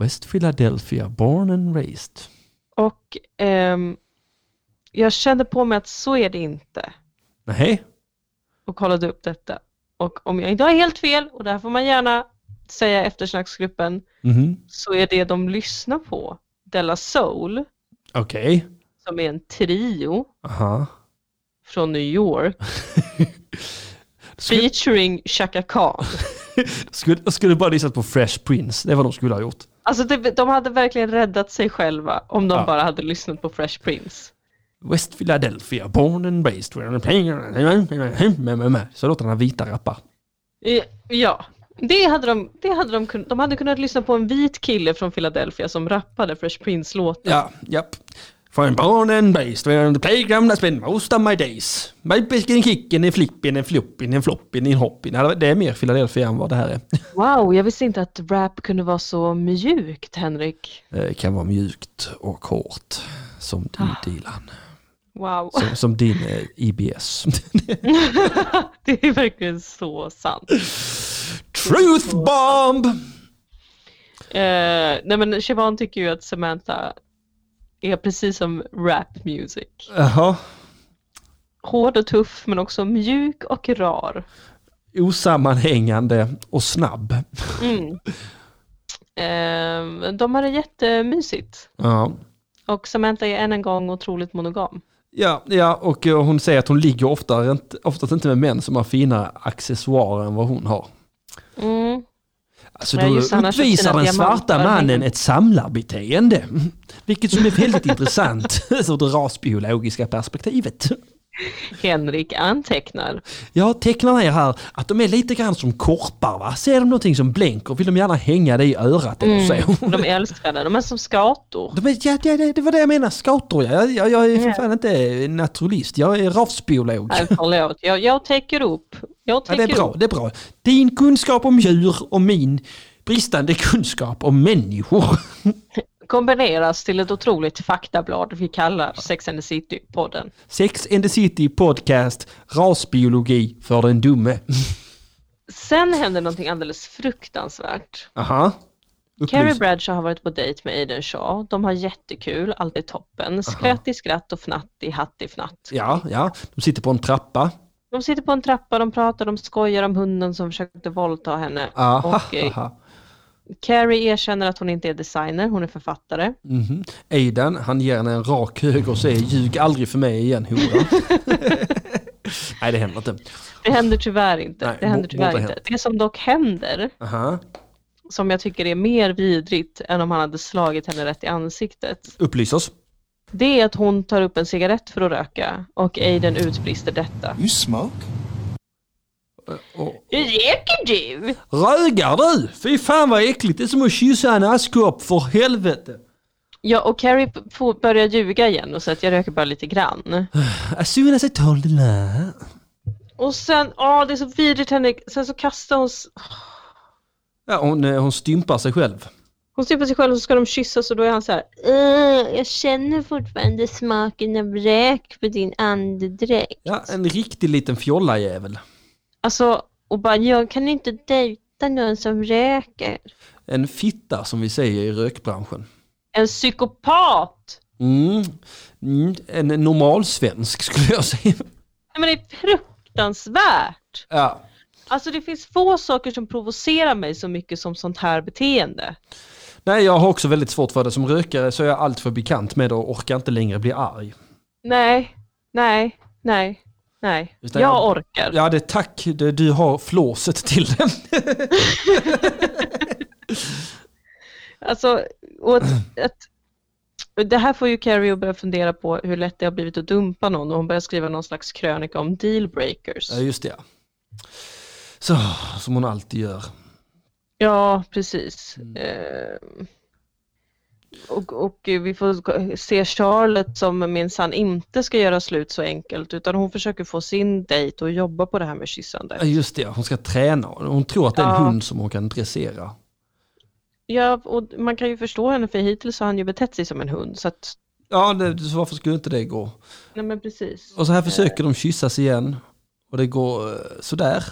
Speaker 1: West Philadelphia, born and raised.
Speaker 2: Och ehm, jag kände på mig att så är det inte
Speaker 1: Nej,
Speaker 2: och kollade upp detta. Och om jag inte har helt fel, och det här får man gärna säga i eftersnacksgruppen,
Speaker 1: Mhm.
Speaker 2: så är det de lyssnar på Della Soul,
Speaker 1: okej.
Speaker 2: som är en trio
Speaker 1: Aha.
Speaker 2: från New York, featuring Chaka Khan.
Speaker 1: Skulle, jag skulle bara lyssnat på Fresh Prince, det var de skulle ha gjort.
Speaker 2: Alltså det, de hade verkligen räddat sig själva om de
Speaker 1: Ja.
Speaker 2: bara hade lyssnat på Fresh Prince.
Speaker 1: West Philadelphia, born and raised. Så låter den här vita rappa.
Speaker 2: Ja, Det hade de, det hade de, kun, de hade kunnat lyssna på en vit kille från Philadelphia som rappade Fresh Prince-låten.
Speaker 1: Ja, japp. For I'm born and raised where on the playground I spend most of my days. My biscuit kicken, en flippin, en floppin, en floppin, en hoppin. Ja, Det är mer Philadelphia än vad det här är.
Speaker 2: Wow, jag visste inte att rap kunde vara så mjukt, Henrik.
Speaker 1: [LAUGHS] Eh, kan vara mjukt och hårt. Som din Dylan.
Speaker 2: Wow,
Speaker 1: Som, som din eh, IBS.
Speaker 2: [LAUGHS] det är verkligen så sant.
Speaker 1: [LAUGHS] Truth bomb!
Speaker 2: Eh, nej men Siobhan tycker ju att Samantha är precis som rap music.
Speaker 1: Jaha.
Speaker 2: Hård och tuff men också mjuk och rar.
Speaker 1: Osammanhängande och snabb. Mm.
Speaker 2: Eh, de har det jättemysigt.
Speaker 1: Ja.
Speaker 2: Och Samantha är än en gång otroligt monogam.
Speaker 1: Ja, ja, och eh, hon säger att hon ligger oftare, inte- oftast inte med män som har fina accessoarer än vad hon har.
Speaker 2: Mm.
Speaker 1: Alltså
Speaker 2: Ja,
Speaker 1: då
Speaker 2: just det, han har köpt
Speaker 1: uppvisar
Speaker 2: sina
Speaker 1: den svarta
Speaker 2: diamantörhängen.
Speaker 1: mannen ett samlarbeteende. [LAUGHS] Vilket som är väldigt intressant [LAUGHS] ur det rasbiologiska perspektivet.
Speaker 2: Henrik antecknar.
Speaker 1: Jag tecknar ner här att de är lite grann som korpar va? Ser de någonting som blänker vill de gärna hänga det i örat
Speaker 2: Mm.
Speaker 1: eller så. [LAUGHS]
Speaker 2: De är älskade, de är som skator.
Speaker 1: De är, ja, ja, det det var det jag menade, scouter ja. jag, jag, jag är för fan inte naturalist, jag är rasbiolog.
Speaker 2: Nej, förlåt. Jag, jag täcker upp. Jag
Speaker 1: Ja,
Speaker 2: täcker
Speaker 1: det är bra,
Speaker 2: upp.
Speaker 1: det är bra. Din kunskap om djur och min bristande kunskap om människor. [LAUGHS]
Speaker 2: Kombineras till ett otroligt faktablad vi kallar Sex and the City-podden.
Speaker 1: Sex and the City podcast, rasbiologi för den dumme. [LAUGHS]
Speaker 2: Sen händer någonting alldeles fruktansvärt.
Speaker 1: Aha.
Speaker 2: Carrie
Speaker 1: Upplys.
Speaker 2: Bradshaw har varit på dejt med Aiden Shaw. De har jättekul, allt är toppen. Skratt i skratt och fnatt i hatt i fnatt.
Speaker 1: Ja, ja. De sitter på en trappa.
Speaker 2: De sitter på en trappa, de pratar, de skojar om hunden som försökte våldta henne.
Speaker 1: Aha,
Speaker 2: Och, eh,
Speaker 1: aha.
Speaker 2: Carrie erkänner att hon inte är designer, hon är författare.
Speaker 1: Mhm. Aidan, han ger henne en rak höger och säger ljug aldrig för mig igen hora. [LAUGHS] Nej, det händer inte.
Speaker 2: Det händer tyvärr inte.
Speaker 1: Nej,
Speaker 2: det händer
Speaker 1: borde
Speaker 2: tyvärr
Speaker 1: hänt.
Speaker 2: inte. Det som dock händer,
Speaker 1: Aha.
Speaker 2: som jag tycker är mer vidrigt än om han hade slagit henne rätt i ansiktet,
Speaker 1: Upplys oss.
Speaker 2: det är att hon tar upp en cigarett för att röka och Aiden utbrister detta.
Speaker 6: You smoke?
Speaker 2: Hur röker du?
Speaker 1: Rögar du? Fy fan vad äckligt, det är som att kyssa en askkopp, för helvete.
Speaker 2: Ja, och Carrie p- får- börjar ljuga igen och säger att jag röker bara lite grann.
Speaker 1: As soon as I told the lie.
Speaker 2: Och sen, åh det är så vidrigt Henrik, sen så kastar hon, s-
Speaker 1: Ja, hon, eh, hon stympar sig själv.
Speaker 2: hon stympar sig själv och så ska de kyssas och då är han så här,
Speaker 7: Ugh, Eh, jag känner fortfarande smaken av rök på din andedräkt.
Speaker 1: Ja, en riktig liten fjollajävel.
Speaker 2: alltså, och bara jag kan
Speaker 7: Kan du inte dejta någon som röker?
Speaker 1: En fitta som vi säger i rökbranschen.
Speaker 2: En psykopat!
Speaker 1: Mm. Mm. En normal svensk skulle jag säga.
Speaker 2: Nej, men det är fruktansvärt!
Speaker 1: Ja.
Speaker 2: Alltså det finns få saker som provocerar mig så mycket som sånt här beteende.
Speaker 1: Nej, jag har också väldigt svårt för det. Som rökare så är jag allt för bekant med det och orkar inte längre bli arg.
Speaker 2: Nej, nej, nej, nej.
Speaker 1: Utan
Speaker 2: jag
Speaker 1: jag-
Speaker 2: orkar.
Speaker 1: Ja, det tack. Det, du har flåset till den.
Speaker 2: Alltså, och att, att, det här får ju Carrie att börja fundera på hur lätt det har blivit att dumpa någon och hon börjar skriva någon slags krönika om dealbreakers.
Speaker 1: Ja, just det. Så, som hon alltid gör.
Speaker 2: Ja, precis.
Speaker 1: Mm.
Speaker 2: Ehm. Och, och vi får se Charlotte som minsann inte ska göra slut så enkelt utan hon försöker få sin dejt att jobba på det här med kyssande.
Speaker 1: Ja, just det. Hon ska träna. Hon tror att det är en
Speaker 2: Ja.
Speaker 1: hund som hon kan dressera.
Speaker 2: Ja, och man kan ju förstå henne för hittills har han ju betett sig som en hund. Så att,
Speaker 1: Ja, det, så varför skulle inte det gå?
Speaker 2: nej men precis.
Speaker 1: Och så här försöker de kyssas igen. Och det går eh, sådär.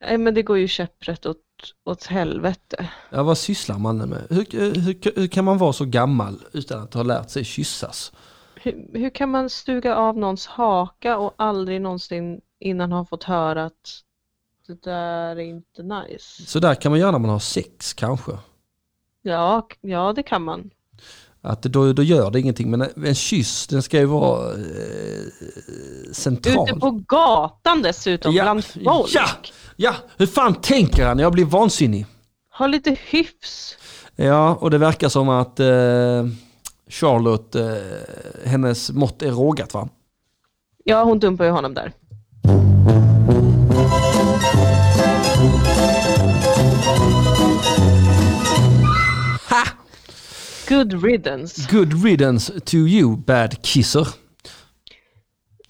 Speaker 2: Nej men det går ju käpprätt åt, åt helvete.
Speaker 1: Ja, vad sysslar man med? Hur, eh, hur, hur kan man vara så gammal utan att ha lärt sig kyssas?
Speaker 2: Hur, hur kan man stuga av någons haka och aldrig någonsin innan har fått höra att det där är inte nice?
Speaker 1: Så där kan man göra när man har sex kanske.
Speaker 2: Ja, k- ja det kan man.
Speaker 1: Att då, då gör det ingenting, men en kyss den ska ju vara eh, central.
Speaker 2: Ute på gatan dessutom bland folk.
Speaker 1: ja, ja, hur fan tänker han? Jag blir vansinnig.
Speaker 2: Ha lite hyfs.
Speaker 1: Ja, och det verkar som att eh, Charlotte, eh, hennes mått är rågat va?
Speaker 2: Ja, hon dumpar ju honom där. Good riddance.
Speaker 1: Good riddance to you, bad kisser.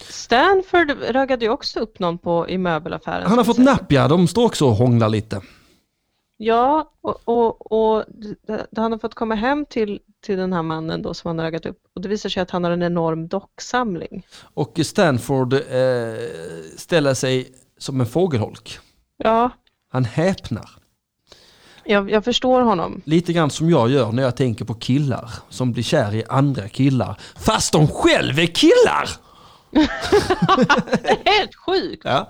Speaker 2: Stanford raggade ju också upp någon på, i möbelaffären.
Speaker 1: Han har
Speaker 2: som
Speaker 1: fått
Speaker 2: sagt.
Speaker 1: napp, ja. De står också och hånglar lite.
Speaker 2: Ja, och, och, och d- d- han har fått komma hem till, till den här mannen då som han har raggat upp. Och det visar sig att han har en enorm docksamling.
Speaker 1: Och Stanford eh, ställer sig som en fågelholk.
Speaker 2: Ja,
Speaker 1: Han häpnar.
Speaker 2: jag, jag förstår honom.
Speaker 1: Lite grann som jag gör när jag tänker på killar som blir kär i andra killar. Fast de själv är killar!
Speaker 2: Det är helt sjukt!
Speaker 1: Ja.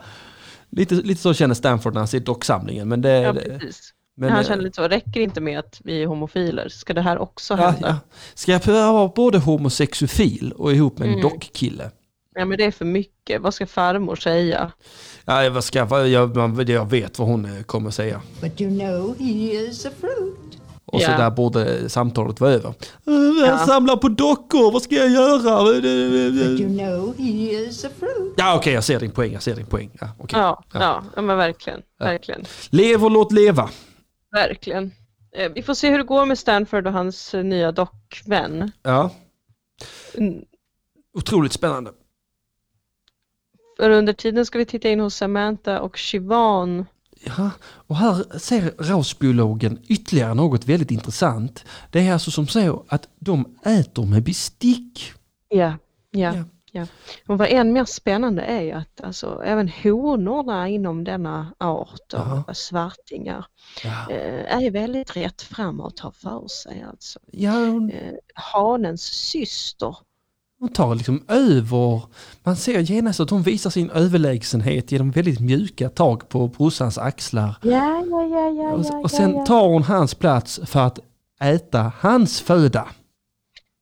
Speaker 1: Lite, lite så känner Stanford när han ser docksamlingen. Men det,
Speaker 2: Ja,
Speaker 1: det,
Speaker 2: precis.
Speaker 1: men,
Speaker 2: han
Speaker 1: eh,
Speaker 2: känner lite så, räcker inte med att vi är homofiler? Ska det här också
Speaker 1: ja, ja.
Speaker 2: hända? Ja.
Speaker 1: Ska jag behöva vara både homosexofil och ihop med en
Speaker 2: Mm.
Speaker 1: dockkille?
Speaker 2: men det är för mycket. Vad ska farmor säga?
Speaker 1: Ja, jag, ska, jag, man- jag vet vad hon eh, kommer säga.
Speaker 8: But you know, he is a fruit.
Speaker 1: Och så
Speaker 2: Ja.
Speaker 1: där borde samtalet vara över. Eh, Jag samlar på dockor, vad ska jag Eh,
Speaker 8: But you
Speaker 1: göra?
Speaker 8: know, he is a fruit.
Speaker 1: Ja okej, jag ser din poäng, jag ser din poäng. Ja, okej.
Speaker 2: Ja, ja. ja men verkligen. Verkligen.
Speaker 1: Lev och låt leva.
Speaker 2: Verkligen. Eh, Vi får se hur det går med Stanford och hans eh, nya dockvän.
Speaker 1: Ja.
Speaker 2: Mm.
Speaker 1: Otroligt spännande.
Speaker 2: För under tiden ska vi titta in hos Samantha och Siobhan.
Speaker 1: Ja, och här ser rasbiologen ytterligare något väldigt intressant. Det är alltså som så att de äter med bestick.
Speaker 2: Ja, ja,
Speaker 1: Ja.
Speaker 2: ja. Och vad än mer spännande är ju att alltså, även honorna inom denna art av svartingar
Speaker 1: Ja.
Speaker 2: eh, är väldigt rätt fram och tar för sig. Alltså.
Speaker 1: Ja, hon-
Speaker 2: Eh, hanens syster.
Speaker 1: hon tar liksom över. Man ser genast att hon visar sin överlägsenhet genom väldigt mjuka tag på brorsans axlar.
Speaker 7: Ja, ja, ja, ja,
Speaker 1: Och,
Speaker 7: ja,
Speaker 1: och sen tar hon hans plats för att äta hans föda.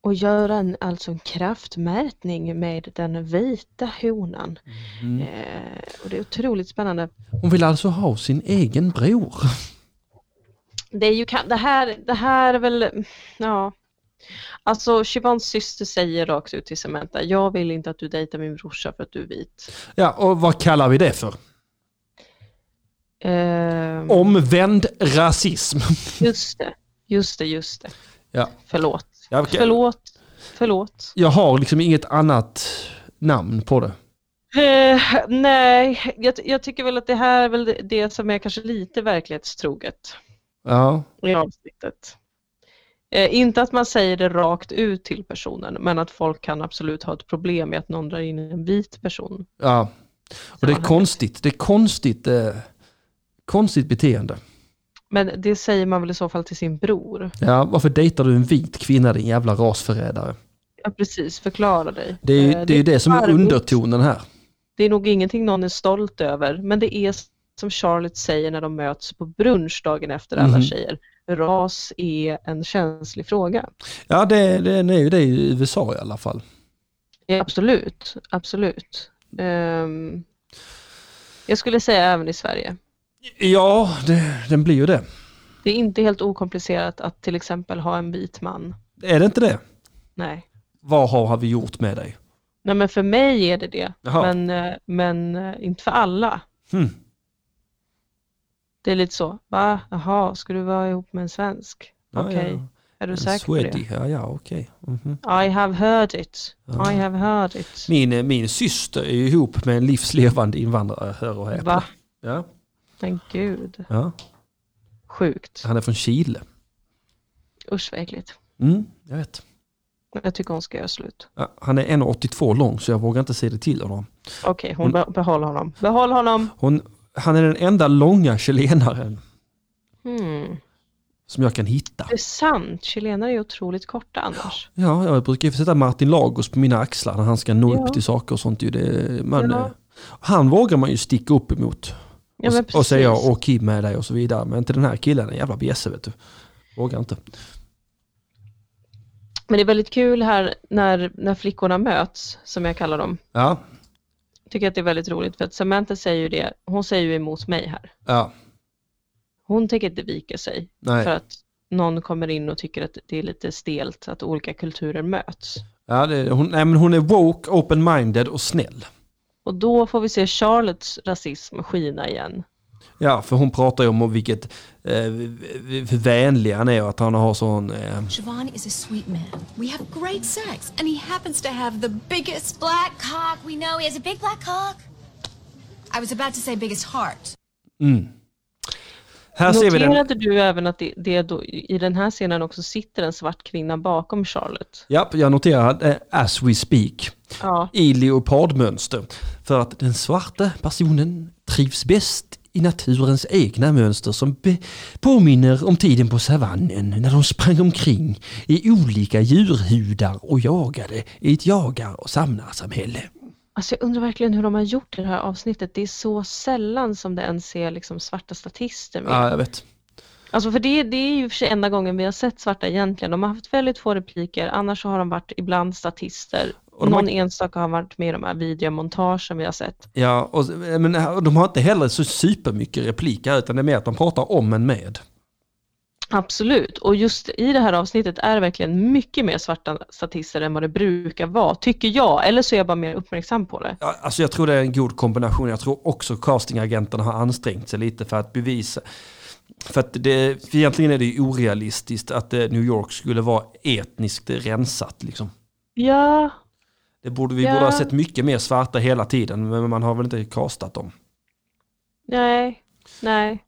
Speaker 2: Och gör en, alltså en kraftmätning med den vita honan.
Speaker 1: Mm.
Speaker 2: Eh, och det är otroligt spännande.
Speaker 1: Hon vill alltså ha sin egen bror.
Speaker 2: Det, är ju, kan- det, här, det här är väl, ja. Alltså Siobhans syster säger rakt ut till Samantha, jag vill inte att du dejtar min brorsa för att du är vit.
Speaker 1: Ja, och vad kallar vi det för?
Speaker 2: Eh,
Speaker 1: Omvänd rasism.
Speaker 2: just det, just det, just det.
Speaker 1: Ja.
Speaker 2: Förlåt.
Speaker 1: Ja, okej.
Speaker 2: Förlåt. Förlåt.
Speaker 1: Jag har liksom inget annat namn på det.
Speaker 2: Eh, nej, jag, jag tycker väl att det här är väl det, det som är kanske lite verklighetstroget.
Speaker 1: Ja.
Speaker 2: i avsnittet. Eh, inte att man säger det rakt ut till personen, men att folk kan absolut ha ett problem med att någon drar in en vit person.
Speaker 1: ja. Och det är konstigt. Det är konstigt, eh, konstigt beteende.
Speaker 2: Men det säger man väl i så fall till sin bror?
Speaker 1: Ja, varför dejtar du en vit kvinna din jävla rasförrädare?
Speaker 2: Ja, precis. Förklara dig.
Speaker 1: Det är ju
Speaker 2: Eh,
Speaker 1: det, är ju det som är
Speaker 2: varmt.
Speaker 1: undertonen här.
Speaker 2: Det är nog ingenting någon är stolt över, men det är som Charlotte säger när de möts på brunch dagen efter alla
Speaker 1: Mhm.
Speaker 2: tjejer. Ras är en känslig fråga.
Speaker 1: Ja, det, det, det är ju det i USA i alla fall.
Speaker 2: Ja, absolut, absolut. Ehm, jag skulle säga även i Sverige.
Speaker 1: Ja, det, den blir ju det.
Speaker 2: Det är inte helt okomplicerat att till exempel ha en vit man.
Speaker 1: Är det inte det?
Speaker 2: Nej.
Speaker 1: Vad har, har vi gjort med dig?
Speaker 2: Nej men för mig är det det,
Speaker 1: Jaha.
Speaker 2: men, eh, men eh, inte för alla.
Speaker 1: Hmm.
Speaker 2: Det är lite så, va? Jaha, ska du vara ihop med en svensk?
Speaker 1: Ja,
Speaker 2: Okej,
Speaker 1: ja, ja.
Speaker 2: är du
Speaker 1: En
Speaker 2: säker på
Speaker 1: sweaty. Ja, ja, okej. Mhm.
Speaker 2: det? I have heard it. I have heard it.
Speaker 1: Min, eh, min syster är ju ihop med en livslevande invandrare, hör och häpna.
Speaker 2: Va?
Speaker 1: Ja,
Speaker 2: Men gud,
Speaker 1: ja.
Speaker 2: sjukt.
Speaker 1: Han är från Chile.
Speaker 2: Usch vad äckligt.
Speaker 1: Mm, jag vet.
Speaker 2: Jag tycker hon ska göra slut.
Speaker 1: Ja, han är 1,82 lång så jag vågar inte säga det till honom.
Speaker 2: Okej,
Speaker 1: Mm.
Speaker 2: hon be- behåll honom. Behåll honom!
Speaker 1: Hon, han är den enda långa chilenaren
Speaker 2: Hmm.
Speaker 1: som jag kan hitta.
Speaker 2: Det är sant, chilenare är otroligt korta annars.
Speaker 1: Ja, jag brukar ju sätta Martin Lagos på mina axlar när han ska nå upp till saker och sånt. ju. Det, man,
Speaker 2: Ja.
Speaker 1: eh, Han vågar man ju sticka upp emot.
Speaker 2: Ja, men
Speaker 1: och, och säga
Speaker 2: precis.
Speaker 1: åh Kim med dig och så vidare. Men inte den här killen, en jävla bjässe vet du. Vågar inte.
Speaker 2: Men det är väldigt kul här när, när flickorna möts, som jag kallar dem.
Speaker 1: Ja,
Speaker 2: Tycker att det är väldigt roligt för att Samantha säger ju det, hon säger ju emot mig här.
Speaker 1: ja,
Speaker 2: Hon tänker inte vika sig för
Speaker 1: nej.
Speaker 2: att någon kommer in och tycker att det är lite stelt att olika kulturer möts.
Speaker 1: Ja, det, hon, nej, men hon är woke, open-minded och snäll.
Speaker 2: Och då får vi se Charlottes rasism skina igen.
Speaker 1: Ja, för hon pratar ju om vilket eh, hur vänlig han är och att han har sån... Eh,
Speaker 4: Siobhan is a sweet man. We have great sex, and he happens to have the biggest black.
Speaker 3: Black cock, we know he has a big black cock.
Speaker 4: I was about to say biggest heart.
Speaker 1: här ser vi den.
Speaker 2: Noterade du även att det, det då, i den här scenen också sitter en svart kvinna bakom Charlotte?
Speaker 1: Ja, jag noterar eh, as we speak
Speaker 2: Ja,
Speaker 1: i leopardmönster. För att den svarta personen trivs bäst i naturens egna mönster som be- påminner om tiden på savannen när de sprang omkring i olika djurhudar och jagade i ett jagar och samlarsamhälle.
Speaker 2: alltså jag undrar verkligen hur de har gjort i det här avsnittet. Det är så sällan som det ens ser liksom svarta statister med.
Speaker 1: Ja, jag vet.
Speaker 2: Alltså för det, det är ju för sig enda gången vi har sett svarta egentligen. De har haft väldigt få repliker, annars så har de varit ibland statister.
Speaker 1: de har-
Speaker 2: Någon enstaka har varit med i de här videomontagen vi har sett.
Speaker 1: Ja, och, men eh, de har inte heller så supermycket repliker utan det är mer att de pratar om en med.
Speaker 2: Absolut, och just i det här avsnittet är det verkligen mycket mer svarta statister än vad det brukar vara, tycker jag. Eller så är jag bara mer uppmärksam på det.
Speaker 1: Ja, Alltså jag tror det är en god kombination. Jag tror också castingagenterna har ansträngt sig lite för att bevisa. För att det, för egentligen är det ju orealistiskt att eh, New York skulle vara etniskt rensat. Liksom.
Speaker 2: Ja,
Speaker 1: Det borde, vi
Speaker 2: Ja.
Speaker 1: borde ha sett mycket mer svarta hela tiden men man har väl inte castat dem.
Speaker 2: nej, nej.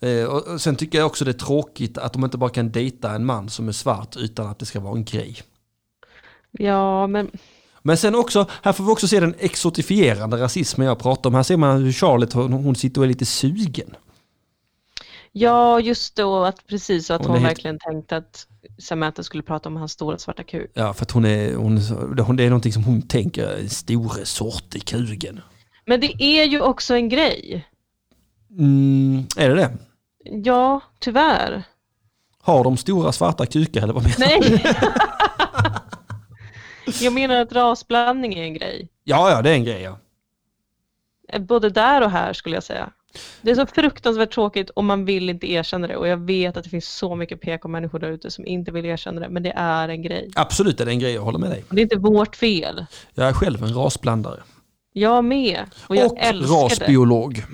Speaker 1: Eh, och och sen tycker jag också det är tråkigt att de inte bara kan dejta en man som är svart utan att det ska vara en grej.
Speaker 2: Ja, men
Speaker 1: Men sen också, här får vi också se den exotifierande rasismen jag pratar om. Här ser man hur Charlotte, hon, hon sitter och är lite sugen.
Speaker 2: ja, just då att precis så att
Speaker 1: Hon är
Speaker 2: hon,
Speaker 1: helt-
Speaker 2: verkligen tänkte att Samantha skulle prata om hans stora svarta kuk.
Speaker 1: Ja, för att hon är, hon, är så- hon, det är någonting som hon tänker, en store sort i kugen.
Speaker 2: Men det är ju också en grej.
Speaker 1: Mm, är det det?
Speaker 2: Ja, tyvärr.
Speaker 1: Har de stora svarta kukar eller vad menar du? [LAUGHS]
Speaker 2: Nej. Jag menar att rasblandning är en grej.
Speaker 1: Ja, ja, det är en grej ja.
Speaker 2: Både där och här skulle jag säga. Det är så fruktansvärt tråkigt och man vill inte erkänna det. Och jag vet att det finns så mycket PK-människor där ute som inte vill erkänna det. Men det är en grej.
Speaker 1: Absolut är det en grej, jag håller med dig.
Speaker 2: Och det är inte vårt fel.
Speaker 1: Jag är själv en rasblandare.
Speaker 2: Jag med. Och jag
Speaker 1: Och
Speaker 2: älskar det.
Speaker 1: rasbiolog.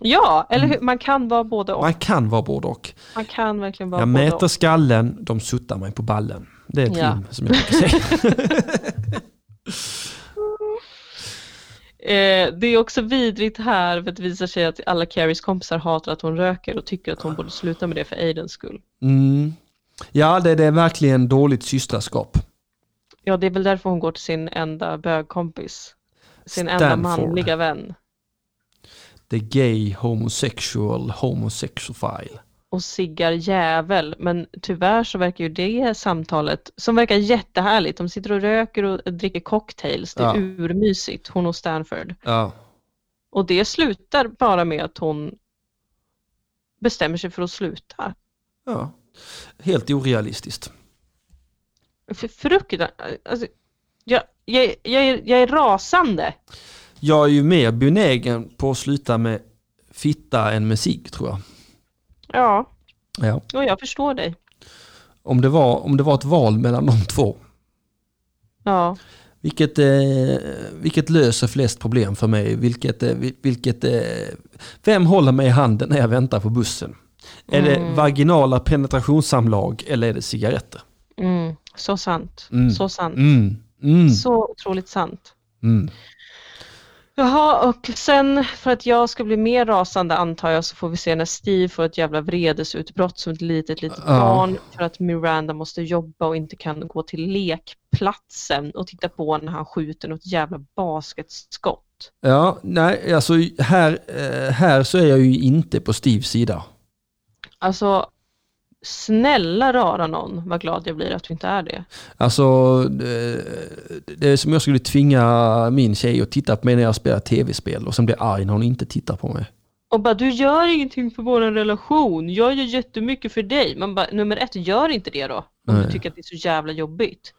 Speaker 2: Ja, eller hur? Man kan vara både och.
Speaker 1: Mm. Man kan vara både och.
Speaker 2: Man kan verkligen vara
Speaker 1: Jag
Speaker 2: både
Speaker 1: mäter
Speaker 2: och.
Speaker 1: skallen, de suttar mig på ballen. Det är ett
Speaker 2: Ja.
Speaker 1: rim som jag brukar
Speaker 2: [LAUGHS]
Speaker 1: säga.
Speaker 2: Eh, det är också vidrigt här för att det visar sig att alla Carries kompisar hatar att hon röker och tycker att hon borde sluta med det för Aidens skull.
Speaker 1: Mm. Ja, det, det är verkligen dåligt systraskap.
Speaker 2: Ja, det är väl därför hon går till sin enda bögkompis. Sin enda
Speaker 1: Stanford.
Speaker 2: manliga vän.
Speaker 1: The gay homosexual homosexophile.
Speaker 2: och siggar jävel. Men tyvärr så verkar ju det samtalet, som verkar jättehärligt, de sitter och röker och dricker cocktails, det är
Speaker 1: Ja.
Speaker 2: urmysigt, hon och Stanford.
Speaker 1: Ja.
Speaker 2: Och det slutar bara med att hon bestämmer sig för att sluta.
Speaker 1: ja. Helt orealistiskt.
Speaker 2: För fruktansvärt, alltså, jag, jag, jag, är, jag är rasande.
Speaker 1: Jag är ju mer benägen på att sluta med fitta än med cigg tror jag.
Speaker 2: Ja,
Speaker 1: Ja.
Speaker 2: och jag förstår dig.
Speaker 1: Om, det var, om det var ett val mellan de två.
Speaker 2: Ja,
Speaker 1: Vilket, eh, vilket löser flest problem för mig? Vilket, eh, vil- vilket, eh, vem håller mig i handen när jag väntar på bussen? Är det vaginala penetrationssamlag eller är det cigaretter?
Speaker 2: mm, så sant. Så sant.
Speaker 1: Mm. Mm.
Speaker 2: Så otroligt sant.
Speaker 1: Mm.
Speaker 2: Jaha, och sen för att jag ska bli mer rasande antar jag så får vi se när Steve får ett jävla vredesutbrott som ett litet, litet
Speaker 1: Ja.
Speaker 2: barn för att Miranda måste jobba och inte kan gå till lekplatsen och titta på när han skjuter något jävla basketskott.
Speaker 1: Ja, nej, alltså här, eh, här så är jag ju inte på Steves sida.
Speaker 2: Alltså, snälla rara någon vad glad jag blir att du inte är det.
Speaker 1: Alltså, eh, det är som jag skulle tvinga min tjej att titta på mig när jag spelar tv-spel och sen blir arg när hon inte tittar på mig.
Speaker 2: Och bara, du gör ingenting för vår relation, jag gör jättemycket för dig. Man bara, nummer ett, gör inte det då. Om
Speaker 1: Nej.
Speaker 2: du tycker att det är så jävla jobbigt.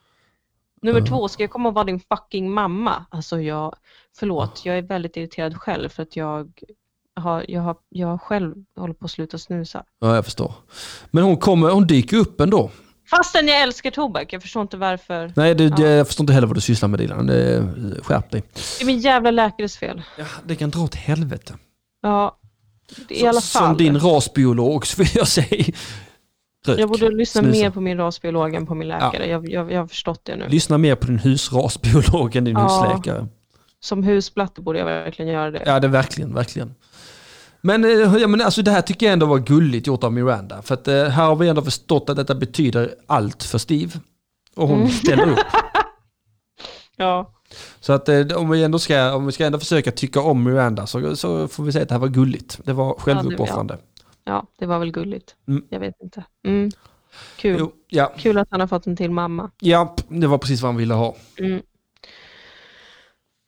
Speaker 2: Nummer två, ska jag komma och vara din fucking mamma? Alltså jag, förlåt, jag är väldigt irriterad själv för att jag har, jag har, jag har själv håller på att sluta snusa.
Speaker 1: Ja, jag förstår. Men hon kommer, hon dyker upp ändå.
Speaker 2: Fastän jag älskar tobak, jag förstår inte varför.
Speaker 1: Nej, det, det, jag förstår inte heller vad du sysslar med Dilan. Det, skärp dig.
Speaker 2: Det är min jävla läkares fel.
Speaker 1: Ja, det kan dra åt helvete.
Speaker 2: Ja. I alla fall.
Speaker 1: Som din rasbiolog så vill jag säga. Rök.
Speaker 2: Jag borde lyssna
Speaker 1: Snusa.
Speaker 2: mer på min rasbiolog än på min läkare. Jag, jag, jag har förstått det nu.
Speaker 1: Lyssna mer på din husrasbiolog än din
Speaker 2: Ja.
Speaker 1: husläkare.
Speaker 2: Som husplatte borde jag verkligen göra det.
Speaker 1: Ja, det är verkligen, verkligen. Men, eh, ja, men alltså, det här tycker jag ändå var gulligt gjort av Miranda. För att eh, här har vi ändå förstått att detta betyder allt för Steve. Och hon ställer [LAUGHS] upp.
Speaker 2: Ja.
Speaker 1: Så att eh, om vi ändå ska, om vi ska ändå försöka tycka om Miranda så, så får vi säga att det här var gulligt. Det var självuppoffrande.
Speaker 2: ja, det var väl gulligt.
Speaker 1: Mm.
Speaker 2: Jag vet inte. Mm. Kul.
Speaker 1: Jo, ja,
Speaker 2: Kul att han har fått en till mamma.
Speaker 1: ja, det var precis vad han ville ha.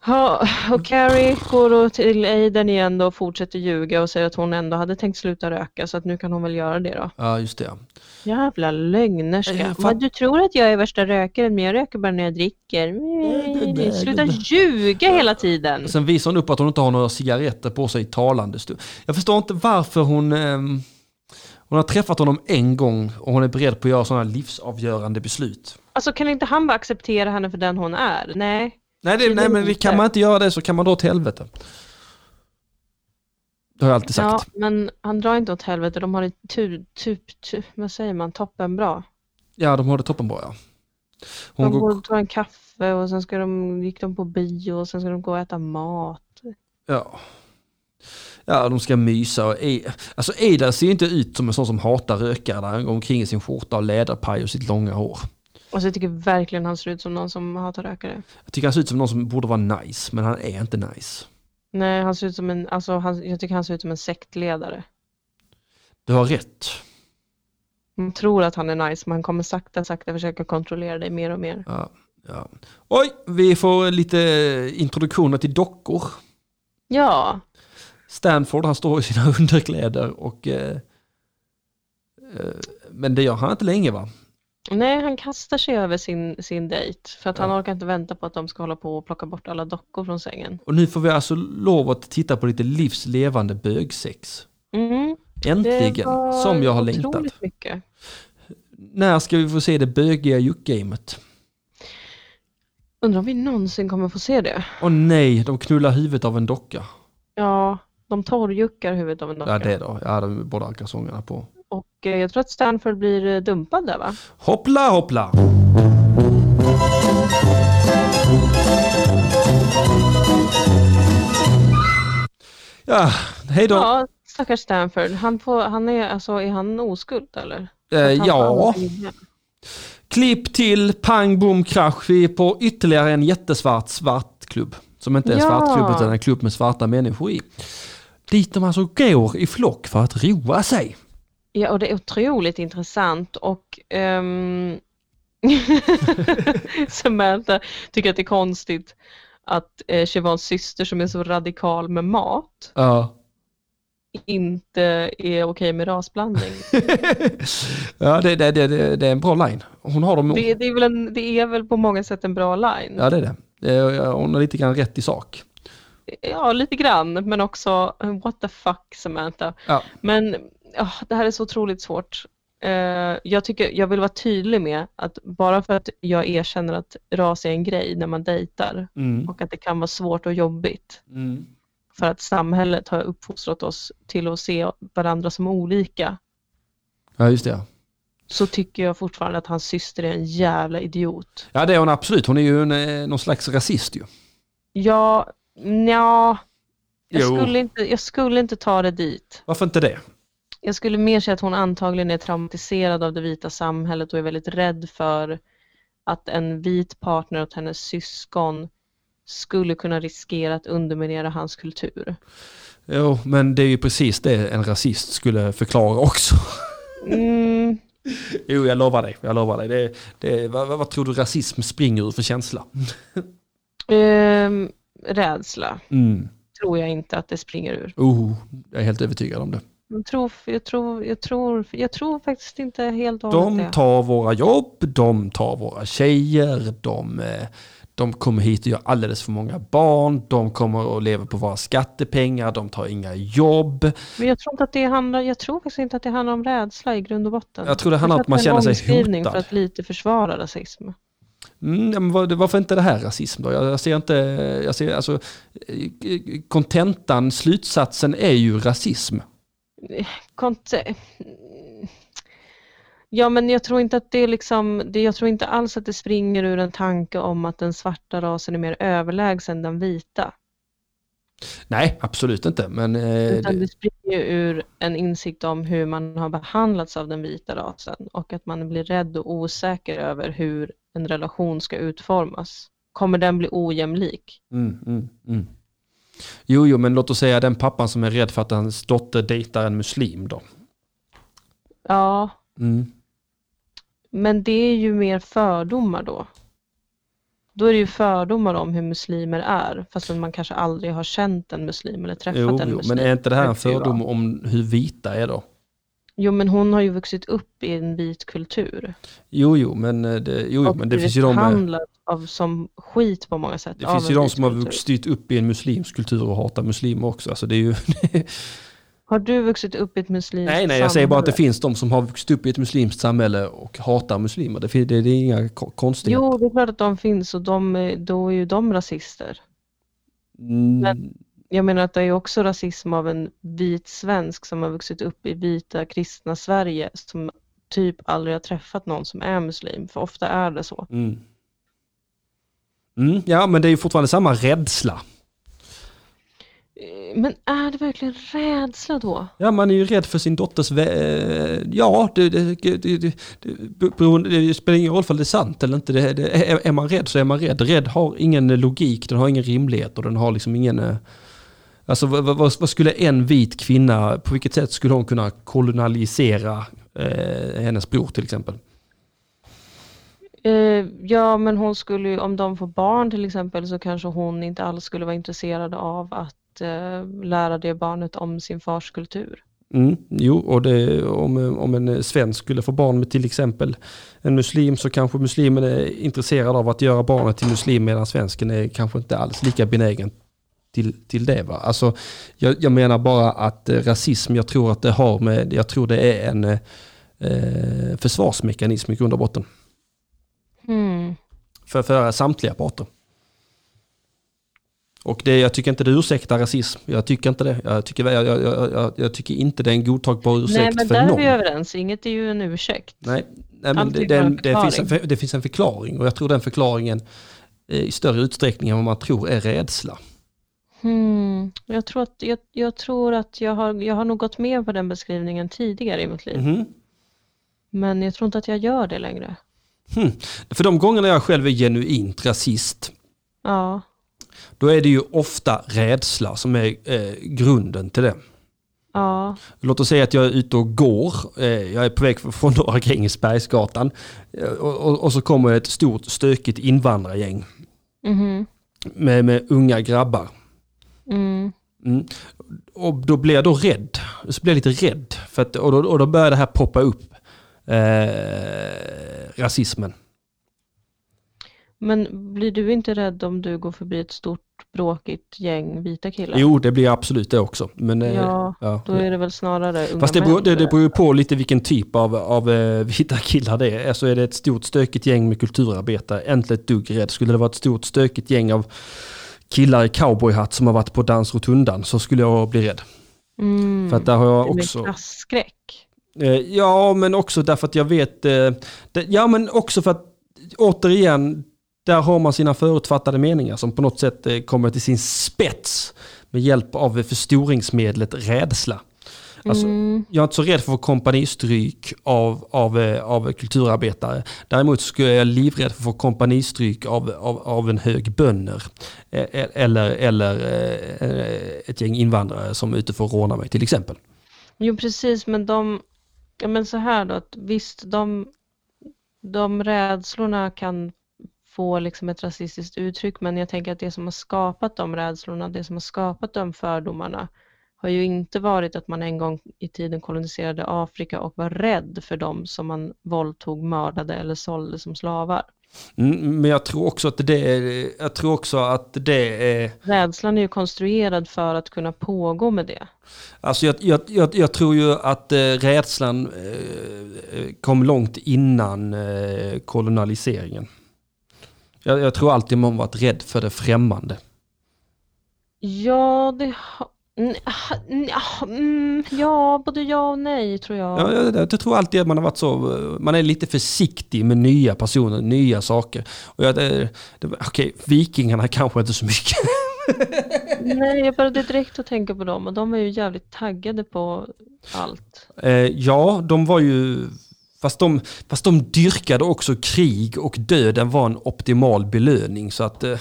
Speaker 2: Ja, och Carrie går då till Aiden igen då och fortsätter ljuga och säger att hon ändå hade tänkt sluta röka så att nu kan hon väl göra det då.
Speaker 1: Ja, just det.
Speaker 2: Jävla
Speaker 1: Eh,
Speaker 2: lögnerska.
Speaker 1: fan.
Speaker 7: Vad du tror att jag är värsta rökaren men jag röker bara när jag dricker.
Speaker 1: det-
Speaker 7: Mm.
Speaker 2: Sluta ljuga hela tiden.
Speaker 1: Sen visar hon upp att hon inte har några cigaretter på sig i talande stund. Jag förstår inte varför hon... ehm, hon har träffat honom en gång och hon är beredd på att göra sådana livsavgörande beslut.
Speaker 2: Alltså kan inte han bara acceptera henne för den hon är? Nej.
Speaker 1: Nej, det, nej men kan man inte göra det så kan man dra åt helvete. Det har jag alltid sagt.
Speaker 2: Ja, men han drar inte åt helvete. De har det tu, typ, tu, vad säger man, toppenbra.
Speaker 1: Ja, de har det toppenbra ja. Hon går,
Speaker 2: De går och tar en kaffe och sen ska de, gick de på bio och sen ska de gå och äta mat.
Speaker 1: Ja. Ja, de ska mysa och... E- Alltså Ada ser inte ut som en sån som hatar rökare där han går omkring i sin skjorta och läderpaj och sitt långa hår.
Speaker 2: Alltså jag tycker verkligen han ser ut som någon som hatar rökare.
Speaker 1: Jag tycker han ser ut som någon som borde vara nice, men han är inte nice.
Speaker 2: Nej, han ser ut som en, alltså han, jag tycker han ser ut som en sektledare.
Speaker 1: Du har rätt.
Speaker 2: Man tror att han är nice, men han kommer sakta, sakta försöka kontrollera dig mer och mer.
Speaker 1: Ja, ja. Oj, vi får lite introduktioner till dockor.
Speaker 2: Ja,
Speaker 1: Stanford, han står i sina [LAUGHS] underkläder och... Eh, eh, men det gör han inte länge va?
Speaker 2: nej, han kastar sig över sin, sin dejt för att han orkar inte vänta på att de ska hålla på och plocka bort alla dockor från sängen.
Speaker 1: Och nu får vi alltså lov att titta på lite livslevande bögsex.
Speaker 2: Mm,
Speaker 1: Äntligen, som jag har längtat.
Speaker 2: otroligt mycket.
Speaker 1: När ska vi få se det bögiga juckgamet?
Speaker 2: Undrar om vi någonsin kommer få se det.
Speaker 1: Åh nej, de knullar huvudet av en docka.
Speaker 2: Ja, de torrjuckar huvudet av en docka.
Speaker 1: Ja, det då. Ja, de båda kalsongerna på.
Speaker 2: Och eh, jag tror att Stanford blir eh, dumpad där va?
Speaker 1: Hoppla, hoppla! Ja, hej då.
Speaker 2: Ja, stackars Stanford. Han, får, han är, alltså, är han oskuld eller?
Speaker 1: Eh,
Speaker 2: Att han
Speaker 1: ja.
Speaker 2: får aldrig-
Speaker 1: Klipp till pang bom krasch. Vi är på ytterligare en jättesvart svartklubb. Som inte är en
Speaker 2: Ja.
Speaker 1: svartklubb utan en klubb med svarta människor i. Dit de alltså går i flock för att roa sig.
Speaker 2: Ja, och det är otroligt intressant och ehm, [LAUGHS] Samantha tycker att det är konstigt att eh, Chevons syster som är så radikal med mat
Speaker 1: Ja.
Speaker 2: inte är okej
Speaker 1: [LAUGHS]
Speaker 2: med rasblandning.
Speaker 1: ja, det, det, det, det, det är en bra line. Hon har dem emot.
Speaker 2: Det, det, är väl en, det är väl på många sätt en bra line.
Speaker 1: Ja, det är det. Eh, Hon har lite grann rätt i sak.
Speaker 2: Ja, lite grann, men också eh, what the fuck Samantha.
Speaker 1: Ja.
Speaker 2: Men ja, det här är så otroligt svårt. Eh, jag, tycker, jag vill vara tydlig med att bara för att jag erkänner att ras är en grej när man dejtar
Speaker 1: Mm.
Speaker 2: och att det kan vara svårt och jobbigt
Speaker 1: Mm.
Speaker 2: för att samhället har uppfostrat oss till att se varandra som olika
Speaker 1: Ja, just det. ja.
Speaker 2: så tycker jag fortfarande att hans syster är en jävla idiot.
Speaker 1: Ja, det är hon absolut. Hon är ju en, eh, någon slags rasist ju.
Speaker 2: Jag, nja, jag
Speaker 1: Jo.
Speaker 2: skulle, inte, jag skulle inte ta det dit.
Speaker 1: Varför inte det?
Speaker 2: Jag skulle mer säga att hon antagligen är traumatiserad av det vita samhället och är väldigt rädd för att en vit partner åt hennes syskon skulle kunna riskera att underminera hans kultur.
Speaker 1: Jo, men det är ju precis det en rasist skulle förklara också.
Speaker 2: Mm,
Speaker 1: [LAUGHS] Jo, jag lovar dig. Jag lovar dig. Det, det, vad, vad vad tror du rasism springer ur för känsla?
Speaker 2: ehm, rädsla
Speaker 1: Mm.
Speaker 2: tror jag inte att det springer ur.
Speaker 1: Oh, jag är helt övertygad om det.
Speaker 2: Jag tror, jag tror, jag tror, jag tror faktiskt inte helt och hållet
Speaker 1: De
Speaker 2: det.
Speaker 1: tar våra jobb, de tar våra tjejer, de, eh, de kommer hit och gör alldeles för många barn, de kommer och lever på våra skattepengar, de tar inga jobb.
Speaker 2: Men jag tror, inte att det handlar, jag tror faktiskt inte att det handlar om rädsla i grund och botten.
Speaker 1: Jag tror det handlar om att man
Speaker 2: det är en
Speaker 1: känner sig
Speaker 2: omskrivning
Speaker 1: hotad.
Speaker 2: för att lite försvara rasism.
Speaker 1: Mm, ja, men vad- varför inte det här rasism då? Jag, jag ser inte, jag ser alltså, eh, kontentan, slutsatsen är ju rasism.
Speaker 2: Konte... Ja, men jag tror inte att det är liksom, det, jag tror inte alls att det springer ur en tanke om att den svarta rasen är mer överlägsen den vita.
Speaker 1: Nej, absolut inte. Men, eh,
Speaker 2: Utan
Speaker 1: det,
Speaker 2: det springer ju ur en insikt om hur man har behandlats av den vita rasen och att man blir rädd och osäker över hur en relation ska utformas. Kommer den bli ojämlik?
Speaker 1: mm, mm, mm. Jo, jo, men låt oss säga den pappan som är rädd för att hans dotter dejtar en muslim då.
Speaker 2: Ja,
Speaker 1: Mm.
Speaker 2: men det är ju mer fördomar då. Då är det ju fördomar om hur muslimer är, fastän man kanske aldrig har känt en muslim eller träffat
Speaker 1: Jo,
Speaker 2: en
Speaker 1: jo,
Speaker 2: muslim.
Speaker 1: men är inte det här en
Speaker 2: Det är ju
Speaker 1: fördom om hur vita är då?
Speaker 2: Jo, men hon har ju vuxit upp i en vit kultur.
Speaker 1: Jo, jo, men eh, det, jo, jo,
Speaker 2: och
Speaker 1: men det finns ju de, eh,
Speaker 2: behandlad av som skit på många sätt.
Speaker 1: det
Speaker 2: av
Speaker 1: finns ju
Speaker 2: en
Speaker 1: de
Speaker 2: vit
Speaker 1: som har
Speaker 2: kultur.
Speaker 1: vuxit upp i en muslimsk kultur och hatar muslimer också. Alltså det är ju, [LAUGHS]
Speaker 2: Har du vuxit upp i ett muslimskt
Speaker 1: nej, nej, jag säger bara att det
Speaker 2: samhälle?
Speaker 1: finns de som har vuxit upp i ett muslimskt samhälle och hatar muslimer. Det, fin- det, det är inga ko- konstigheter.
Speaker 2: Jo, det är klart att de finns och de, är- då är ju de rasister.
Speaker 1: Mm,
Speaker 2: Jag menar att det är ju också rasism av en vit svensk som har vuxit upp i vita kristna Sverige som typ aldrig har träffat någon som är muslim, för ofta är det så.
Speaker 1: mm. Mm, ja, men det är ju fortfarande samma rädsla.
Speaker 2: Eh, Men är det verkligen rädsla då?
Speaker 1: Ja, man är ju rädd för sin dotters... vä- eh, Ja, det, det, det, det, det, beroende- det spelar ingen roll om det är sant eller inte. Det, det, är, är man rädd så är man rädd. Rädd har ingen logik, den har ingen rimlighet och den har liksom ingen... eh, Alltså vad, vad, vad skulle en vit kvinna, på vilket sätt skulle hon kunna kolonialisera eh, hennes bror till exempel?
Speaker 2: Eh, ja, men hon skulle ju, om de får barn till exempel så kanske hon inte alls skulle vara intresserad av att eh, lära det barnet om sin fars kultur.
Speaker 1: Mm, jo, och det, om, om en svensk skulle få barn med till exempel en muslim så kanske muslimen är intresserad av att göra barnet till muslim medan svensken är kanske inte alls lika benägen till, till det. Va? Alltså, jag, jag menar bara att eh, rasism, jag tror att det har med, jag tror det är en eh, eh, försvarsmekanism i grund och botten.
Speaker 2: Hmm.
Speaker 1: För, för samtliga parter. Och det, jag tycker inte det ursäktar rasism. Jag tycker inte det. Jag tycker, jag, jag, jag, jag, jag tycker inte det är en godtagbar ursäkt
Speaker 2: Nej, men
Speaker 1: för
Speaker 2: där
Speaker 1: någon.
Speaker 2: är vi överens. Inget är ju en ursäkt.
Speaker 1: Nej, nej men
Speaker 2: Alltid
Speaker 1: det, det, är en-
Speaker 2: har
Speaker 1: det,
Speaker 2: en
Speaker 1: finns en, det finns en förklaring och jag tror den förklaringen eh, i större utsträckning än vad man tror är rädsla. Mm.
Speaker 2: Hmm. Jag, tror att, jag, jag tror att jag har, jag har nog gått med på den beskrivningen tidigare i mitt liv,
Speaker 1: Mhm.
Speaker 2: men jag tror inte att jag gör det längre.
Speaker 1: För de gångerna jag själv är genuint rasist,
Speaker 2: Ja,
Speaker 1: då är det ju ofta rädsla som är eh, grunden till det.
Speaker 2: ja,
Speaker 1: Låt oss säga att jag är ute och går. Eh, Jag är på väg från [LAUGHS] Norra Grängesbergsgatan. Eh, Och, och, och så kommer ett stort stökigt invandrargäng
Speaker 2: mhm,
Speaker 1: med, med unga grabbar.
Speaker 2: mm,
Speaker 1: Mm. Och då blir jag då rädd. Så blir jag lite rädd. För att, och, då, och då börjar det här poppa upp. Eh, rasismen.
Speaker 2: Men blir du inte rädd om du går förbi ett stort bråkigt gäng vita killar?
Speaker 1: Jo, det blir jag absolut det också. Men, eh,
Speaker 2: Ja,
Speaker 1: ja.
Speaker 2: Då är det väl snarare unga
Speaker 1: Fast det beror,
Speaker 2: män
Speaker 1: det, det
Speaker 2: eller?
Speaker 1: beror ju på lite vilken typ av, av eh, vita killar det är. Alltså är det ett stort stökigt gäng med kulturarbetare, inte ett dugg rädd. Skulle det vara ett stort stökigt gäng av killar i cowboyhatt som har varit på Dans Rotundan så skulle jag bli rädd.
Speaker 2: mm.
Speaker 1: För att där har jag
Speaker 2: det är mer
Speaker 1: också...
Speaker 2: klasskräck.
Speaker 1: Eh, Ja, men också därför att jag vet... eh, det- Ja, men också för att återigen, där har man sina förutfattade meningar som på något sätt eh, kommer till sin spets med hjälp av eh, förstoringsmedlet rädsla. Alltså,
Speaker 2: Mm.
Speaker 1: Jag är inte så rädd för att få kompanistryk av, av, eh, av kulturarbetare. Däremot skulle jag är livrädd för att få kompanistryk av, av, av en hög bönder. Eh, eh, Eller, eller eh, eh, ett gäng invandrare som är ute för att råna mig till exempel.
Speaker 2: Jo precis, men de, ja men så här då, att visst de, de rädslorna kan få liksom ett rasistiskt uttryck, men jag tänker att det som har skapat de rädslorna, det som har skapat de fördomarna, har ju inte varit att man en gång i tiden koloniserade Afrika och var rädd för dem som man våldtog, mördade eller sålde som slavar.
Speaker 1: Mm, Men jag tror också att det är, jag tror också att det är,
Speaker 2: Rädslan är ju konstruerad för att kunna pågå med det.
Speaker 1: alltså jag, jag, jag, jag tror ju att eh, rädslan eh, kom långt innan eh, kolonialiseringen. Jag, jag tror alltid man varit rädd för det främmande.
Speaker 2: Ja, det, ha- Mm, ah, mm, ah, mm, ja, både ja och nej tror jag.
Speaker 1: Ja, jag, jag tror alltid att man har varit så, eh, man är lite försiktig med nya personer, nya saker. Och jag, det, det, okej, vikingarna kanske inte så mycket.
Speaker 2: Nej, jag började direkt att tänka på dem och de är ju jävligt taggade på allt.
Speaker 1: Eh, ja, de var ju... Fast de, fast de dyrkade också krig och döden var en optimal belöning. Så att, eh,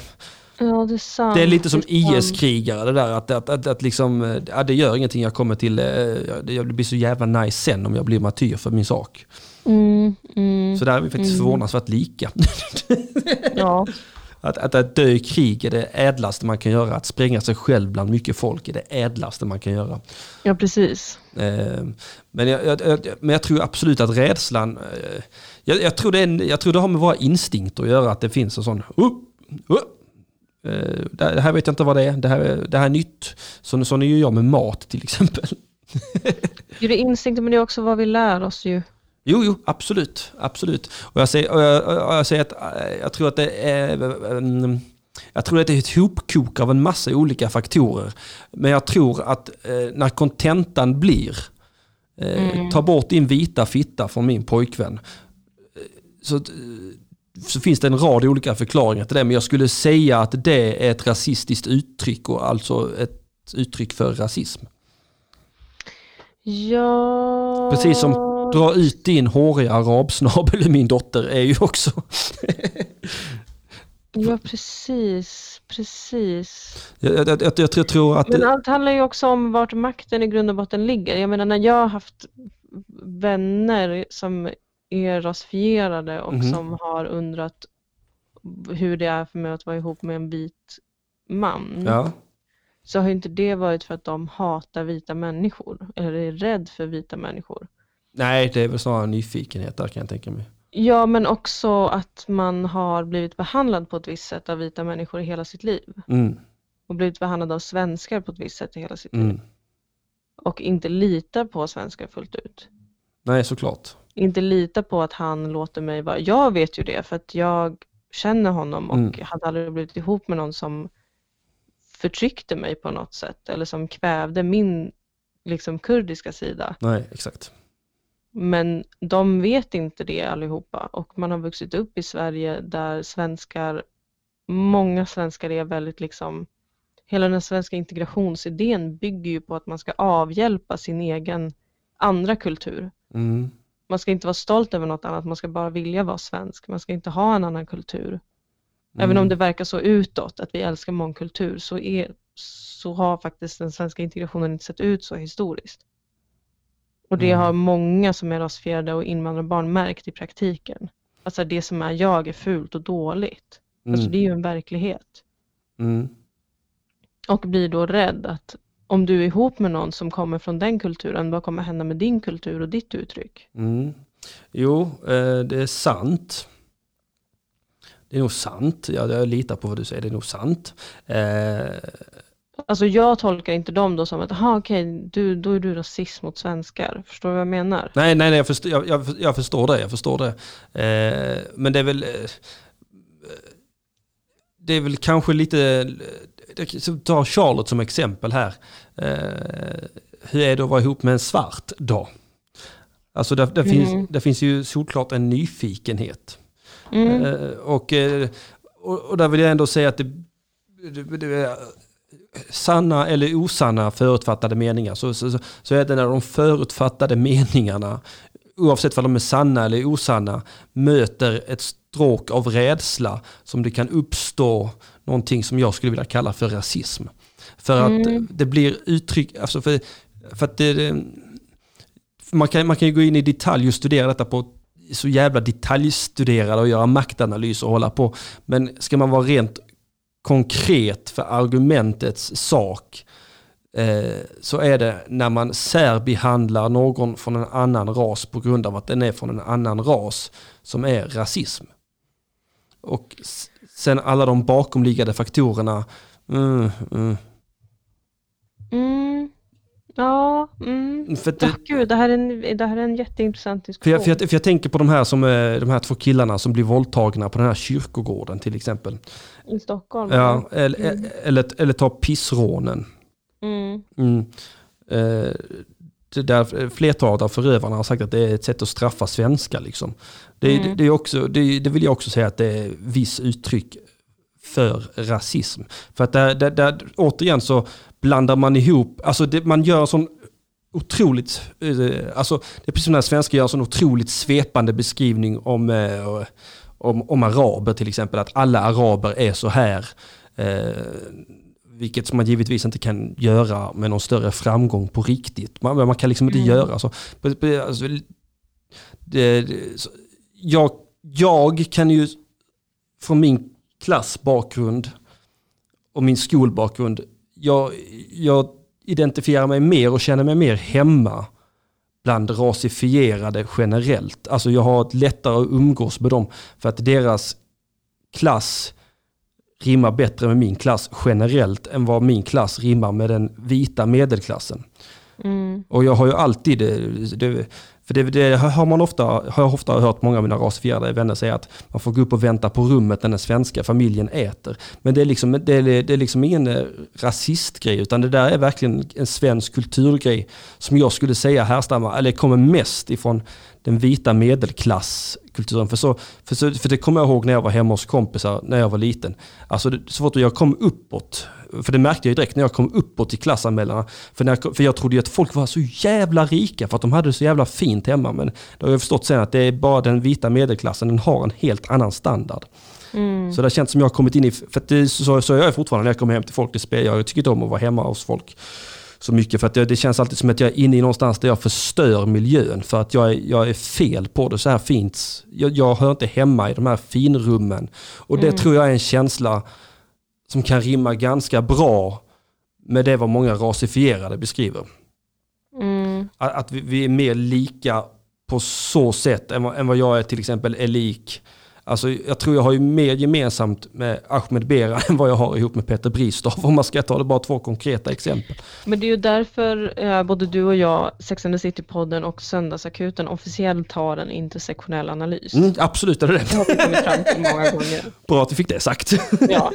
Speaker 2: Ja, det är sant.
Speaker 1: det är lite som
Speaker 2: det är sant.
Speaker 1: IS-krigare det där att, att, att, att liksom, eh, ja, det gör ingenting, jag kommer till, eh, ja, det jag blir så jävla nice sen om jag blir martyr för min sak.
Speaker 2: Mm, mm,
Speaker 1: Så där är vi faktiskt förvånansvärt lika.
Speaker 2: ja.
Speaker 1: [LAUGHS] Att, att, att dö i krig är det ädlaste man kan göra, att spränga sig själv bland mycket folk är det ädlaste man kan göra.
Speaker 2: ja, precis.
Speaker 1: Eh, Men jag, jag, jag, men jag tror absolut att rädslan, eh, jag, jag, tror det är en, jag tror det har med våra instinkter att göra, att det finns en sån, "Oh, oh." Eh, det här- det här vet jag inte vad det är, det här, är- det här är nytt. Så, sån är ju jag med mat till exempel.
Speaker 2: Jo, det är instinkter men det är också vad vi lär oss ju.
Speaker 1: Jo, jo, absolut. absolut. Och jag säger, och jag, och jag säger att eh, jag tror att det är... mm, Jag tror att det är ett hopkok av en massa olika faktorer. Men jag tror att eh, när kontentan blir, eh, ta bort din vita fitta från min pojkvän. eh, Så, att, eh, så finns det en rad olika förklaringar till det. Men jag skulle säga att det är ett rasistiskt uttryck och alltså ett uttryck för rasism.
Speaker 2: Ja...
Speaker 1: Precis som dra ut din håriga arabsnabel i min dotter är ju också...
Speaker 2: Ja, precis. Precis.
Speaker 1: Jag, jag, jag, jag, jag tror att...
Speaker 2: Men allt handlar ju också om vart makten i grund och botten ligger. Jag menar när jag har haft vänner som är rasifierade och
Speaker 1: Mhm.
Speaker 2: som har undrat hur det är för mig att vara ihop med en vit man.
Speaker 1: ja.
Speaker 2: Så har ju inte det varit för att de hatar vita människor eller är rädd för vita människor.
Speaker 1: Nej, det är väl snarare nyfikenhet där kan jag tänka mig.
Speaker 2: Ja, men också att man har blivit behandlad på ett visst sätt av vita människor i hela sitt liv
Speaker 1: Mm,
Speaker 2: och blivit behandlad av svenskar på ett visst sätt i hela sitt liv
Speaker 1: mm.
Speaker 2: och inte litar på svenskar fullt ut.
Speaker 1: Nej, såklart.
Speaker 2: inte lita på att han låter mig vara. Jag vet ju det för att jag känner honom och
Speaker 1: Mm.
Speaker 2: hade aldrig blivit ihop med någon som förtryckte mig på något sätt eller som kvävde min liksom kurdiska sida.
Speaker 1: Nej, exakt.
Speaker 2: Men de vet inte det allihopa och man har vuxit upp i Sverige där svenskar, många svenskar är väldigt liksom, hela den svenska integrationsidén bygger ju på att man ska avhjälpa sin egen andra kultur.
Speaker 1: Mm.
Speaker 2: Man ska inte vara stolt över något annat, man ska bara vilja vara svensk. Man ska inte ha en annan kultur. Även
Speaker 1: Mm.
Speaker 2: om det verkar så utåt, att vi älskar mångkultur, så, är, så har faktiskt den svenska integrationen inte sett ut så historiskt. Och det har många som är rasifierade och invandrarbarn märkt i praktiken. Alltså det som är jag är fult och dåligt. Alltså det är ju en verklighet.
Speaker 1: Mm.
Speaker 2: Och blir då rädd att om du är ihop med någon som kommer från den kulturen, vad kommer hända med din kultur och ditt uttryck?
Speaker 1: Mm. Jo, eh, det är sant. Det är nog sant. Jag, jag litar på vad du säger, det är nog sant. Eh,
Speaker 2: Alltså jag tolkar inte dem då som att, aha okej, du, då är du rasist mot svenskar. Förstår du vad jag menar?
Speaker 1: Nej, nej, nej jag, förstår, jag, jag, jag förstår det. Jag förstår det. Eh, men det är väl... Eh, det är väl kanske lite... det- så Ta Charlotte som exempel här. Eh, hur är det att vara ihop med en svart då? Alltså där, där, finns, där finns ju såklart en nyfikenhet. Eh, och, eh, och, och där vill jag ändå säga att det, det, det, sanna eller osanna förutfattade meningar så, så, så- så är det när de förutfattade meningarna, oavsett om de är sanna eller osanna, möter ett stråk av rädsla som det kan uppstå någonting som jag skulle vilja kalla för rasism. För att det blir uttryck, alltså för, för att det, det- för man, kan, man kan ju gå in i detalj och studera detta på så jävla detaljstuderade och göra maktanalys och hålla på. Men ska man vara rent konkret för argumentets sak eh, så är det när man särbehandlar någon från en annan ras på grund av att den är från en annan ras som är rasism. Och s- sen alla de bakomliggande faktorerna. Mm, mm.
Speaker 2: Mm. Ja, mm.
Speaker 1: För, att
Speaker 2: Ja,
Speaker 1: det,
Speaker 2: gud, det här är en, det här är en jätteintressant
Speaker 1: för,
Speaker 2: diskussion.
Speaker 1: jag, för, jag, för jag tänker på de här, som, eh, de här två killarna som blir våldtagna på den här kyrkogården till exempel.
Speaker 2: I Stockholm.
Speaker 1: Ja, eller, eller, eller ta pissrånen.
Speaker 2: Mm.
Speaker 1: Mm. Eh, det där, eh, flertalet av förövarna har sagt att det är ett sätt att straffa svenskar. Liksom. Det, det, det, är också, det, det vill jag också säga att det är viss uttryck för rasism. För att där, där, där, återigen så blandar man ihop, alltså det, man gör en sån otroligt, eh, alltså det är precis som när svenskar gör en sån otroligt svepande beskrivning om, eh, om, om araber till exempel, att alla araber är så här. Eh, vilket som man givetvis inte kan göra med någon större framgång på riktigt. Man, man kan liksom inte göra så. På- på- Alltså, det, det- så- jag, jag kan ju från min klassbakgrund och min skolbakgrund, jag, jag identifierar mig mer och känner mig mer hemma bland rasifierade generellt. Alltså jag har ett lättare att umgås med dem för att deras klass rimmar bättre med min klass generellt än vad min klass rimmar med den vita medelklassen. Och jag har ju alltid, eh, det, för det, det har, man ofta, har jag ofta hört många av mina rasfjärde vänner säga att man får gå upp och vänta på rummet när den svenska familjen äter. Men det är liksom, det är, det är liksom ingen eh, rasistgrej utan det där är verkligen en svensk kulturgrej som jag skulle säga härstammar, eller kommer mest ifrån den vita medelklasskulturen. För, så, för, så, för det kommer jag ihåg när jag var hemma hos kompisar när jag var liten. Alltså det, så fort jag kom uppåt, för det märkte jag ju direkt när jag kom uppåt i klassanmälarna. För, när jag, kom- för jag trodde ju att folk var så jävla rika för att de hade det så jävla fint hemma. Men då har jag förstått sen att det är bara den vita medelklassen, den har en helt annan standard. Så det har känts som jag har kommit in i, för att det, så, så jag är fortfarande när jag kommer hem till folk, det spelar, jag tycker inte om att vara hemma hos folk så mycket. För att det, det känns alltid som att jag är inne i någonstans där jag förstör miljön. För att jag är, jag är fel på det så här fint. Jag, jag hör inte hemma i de här finrummen. Och det tror jag är en känsla som kan rimma ganska bra med det vad många rasifierade beskriver.
Speaker 2: Mm.
Speaker 1: Att, att vi, vi är mer lika på så sätt än vad, än vad jag är till exempel är lik. Alltså, jag tror jag har ju mer gemensamt med Ahmed Bera [LAUGHS] än vad jag har ihop med Peter Bristav om man ska ta det bara två konkreta exempel.
Speaker 2: Men det är ju därför eh, både du och jag, Sex and the City-podden och Söndagsakuten officiellt har en intersektionell analys.
Speaker 1: Mm, absolut, det är det.
Speaker 2: Det har vi kommit fram till
Speaker 1: [LAUGHS]
Speaker 2: många gånger.
Speaker 1: Bra att du fick det sagt.
Speaker 2: Ja.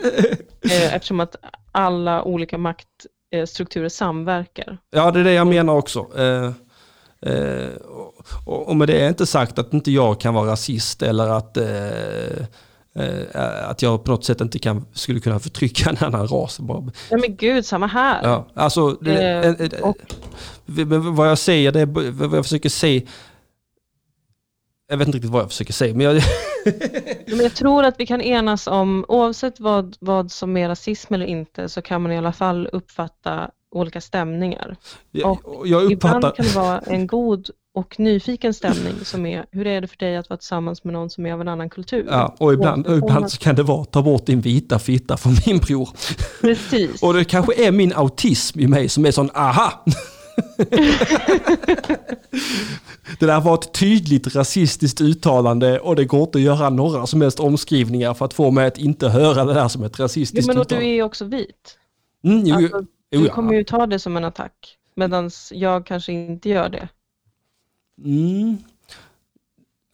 Speaker 2: Eh, Eftersom att alla olika maktstrukturer samverkar.
Speaker 1: Ja, det är det jag menar också. Eh, eh, och, och med det är inte sagt att inte jag kan vara rasist eller att, eh, eh, att jag på något sätt inte kan, skulle kunna förtrycka en annan ras. Bara-
Speaker 2: Nej men gud, samma här.
Speaker 1: Ja, alltså, det,
Speaker 2: Eh,
Speaker 1: eh, eh,
Speaker 2: och-
Speaker 1: v- v- vad jag säger, det är, b- vad jag försöker säga, jag vet inte riktigt vad jag försöker säga, men jag,
Speaker 2: Men jag tror att vi kan enas om, oavsett vad, vad som är rasism eller inte, så kan man i alla fall uppfatta olika stämningar.
Speaker 1: jag,
Speaker 2: Och
Speaker 1: jag uppfattar...
Speaker 2: Ibland kan det vara en god och nyfiken stämning som är, hur är det för dig att vara tillsammans med någon som är av en annan kultur?
Speaker 1: Ja, och ibland, och ibland så kan det vara, ta bort din vita fitta från min bror.
Speaker 2: Precis.
Speaker 1: Och det kanske är min autism i mig som är sån aha! det där var ett tydligt rasistiskt uttalande och det går inte att göra några som helst omskrivningar för att få mig att inte höra det där som ett
Speaker 2: Jo,
Speaker 1: rasistiskt
Speaker 2: men och du
Speaker 1: uttalande.
Speaker 2: är ju också vit.
Speaker 1: Mm, jo,
Speaker 2: Alltså,
Speaker 1: jo,
Speaker 2: du
Speaker 1: ja.
Speaker 2: kommer ju ta det som en attack, medan jag kanske inte gör det.
Speaker 1: mm.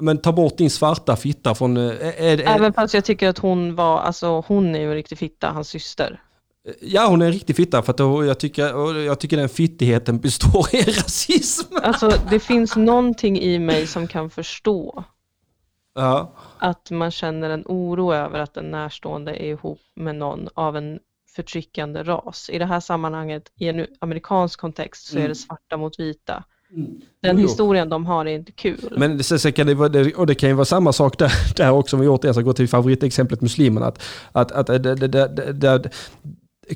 Speaker 1: Men ta bort din svarta fitta från... eh, Är, är,
Speaker 2: Även fast jag tycker att hon var, alltså hon är ju en riktig fitta, hans syster.
Speaker 1: ja, hon är en riktig fitta för att då- jag tycker, och jag tycker den fittigheten består i rasism.
Speaker 2: Alltså det finns någonting i mig som kan förstå
Speaker 1: Ja.
Speaker 2: att man känner en oro över att en närstående är ihop med någon av en förtryckande ras. I det här sammanhanget, i en amerikansk kontext, så är det svarta mot vita. Den
Speaker 1: Mm. Jo, jo.
Speaker 2: historien de har är inte kul.
Speaker 1: Men sen, sen kan det, vara, det- och det kan ju vara samma sak där, [LAUGHS] där också, om vi återigen ska gå till favoritexemplet muslimerna. Att, att, att, det- det- det- det- det-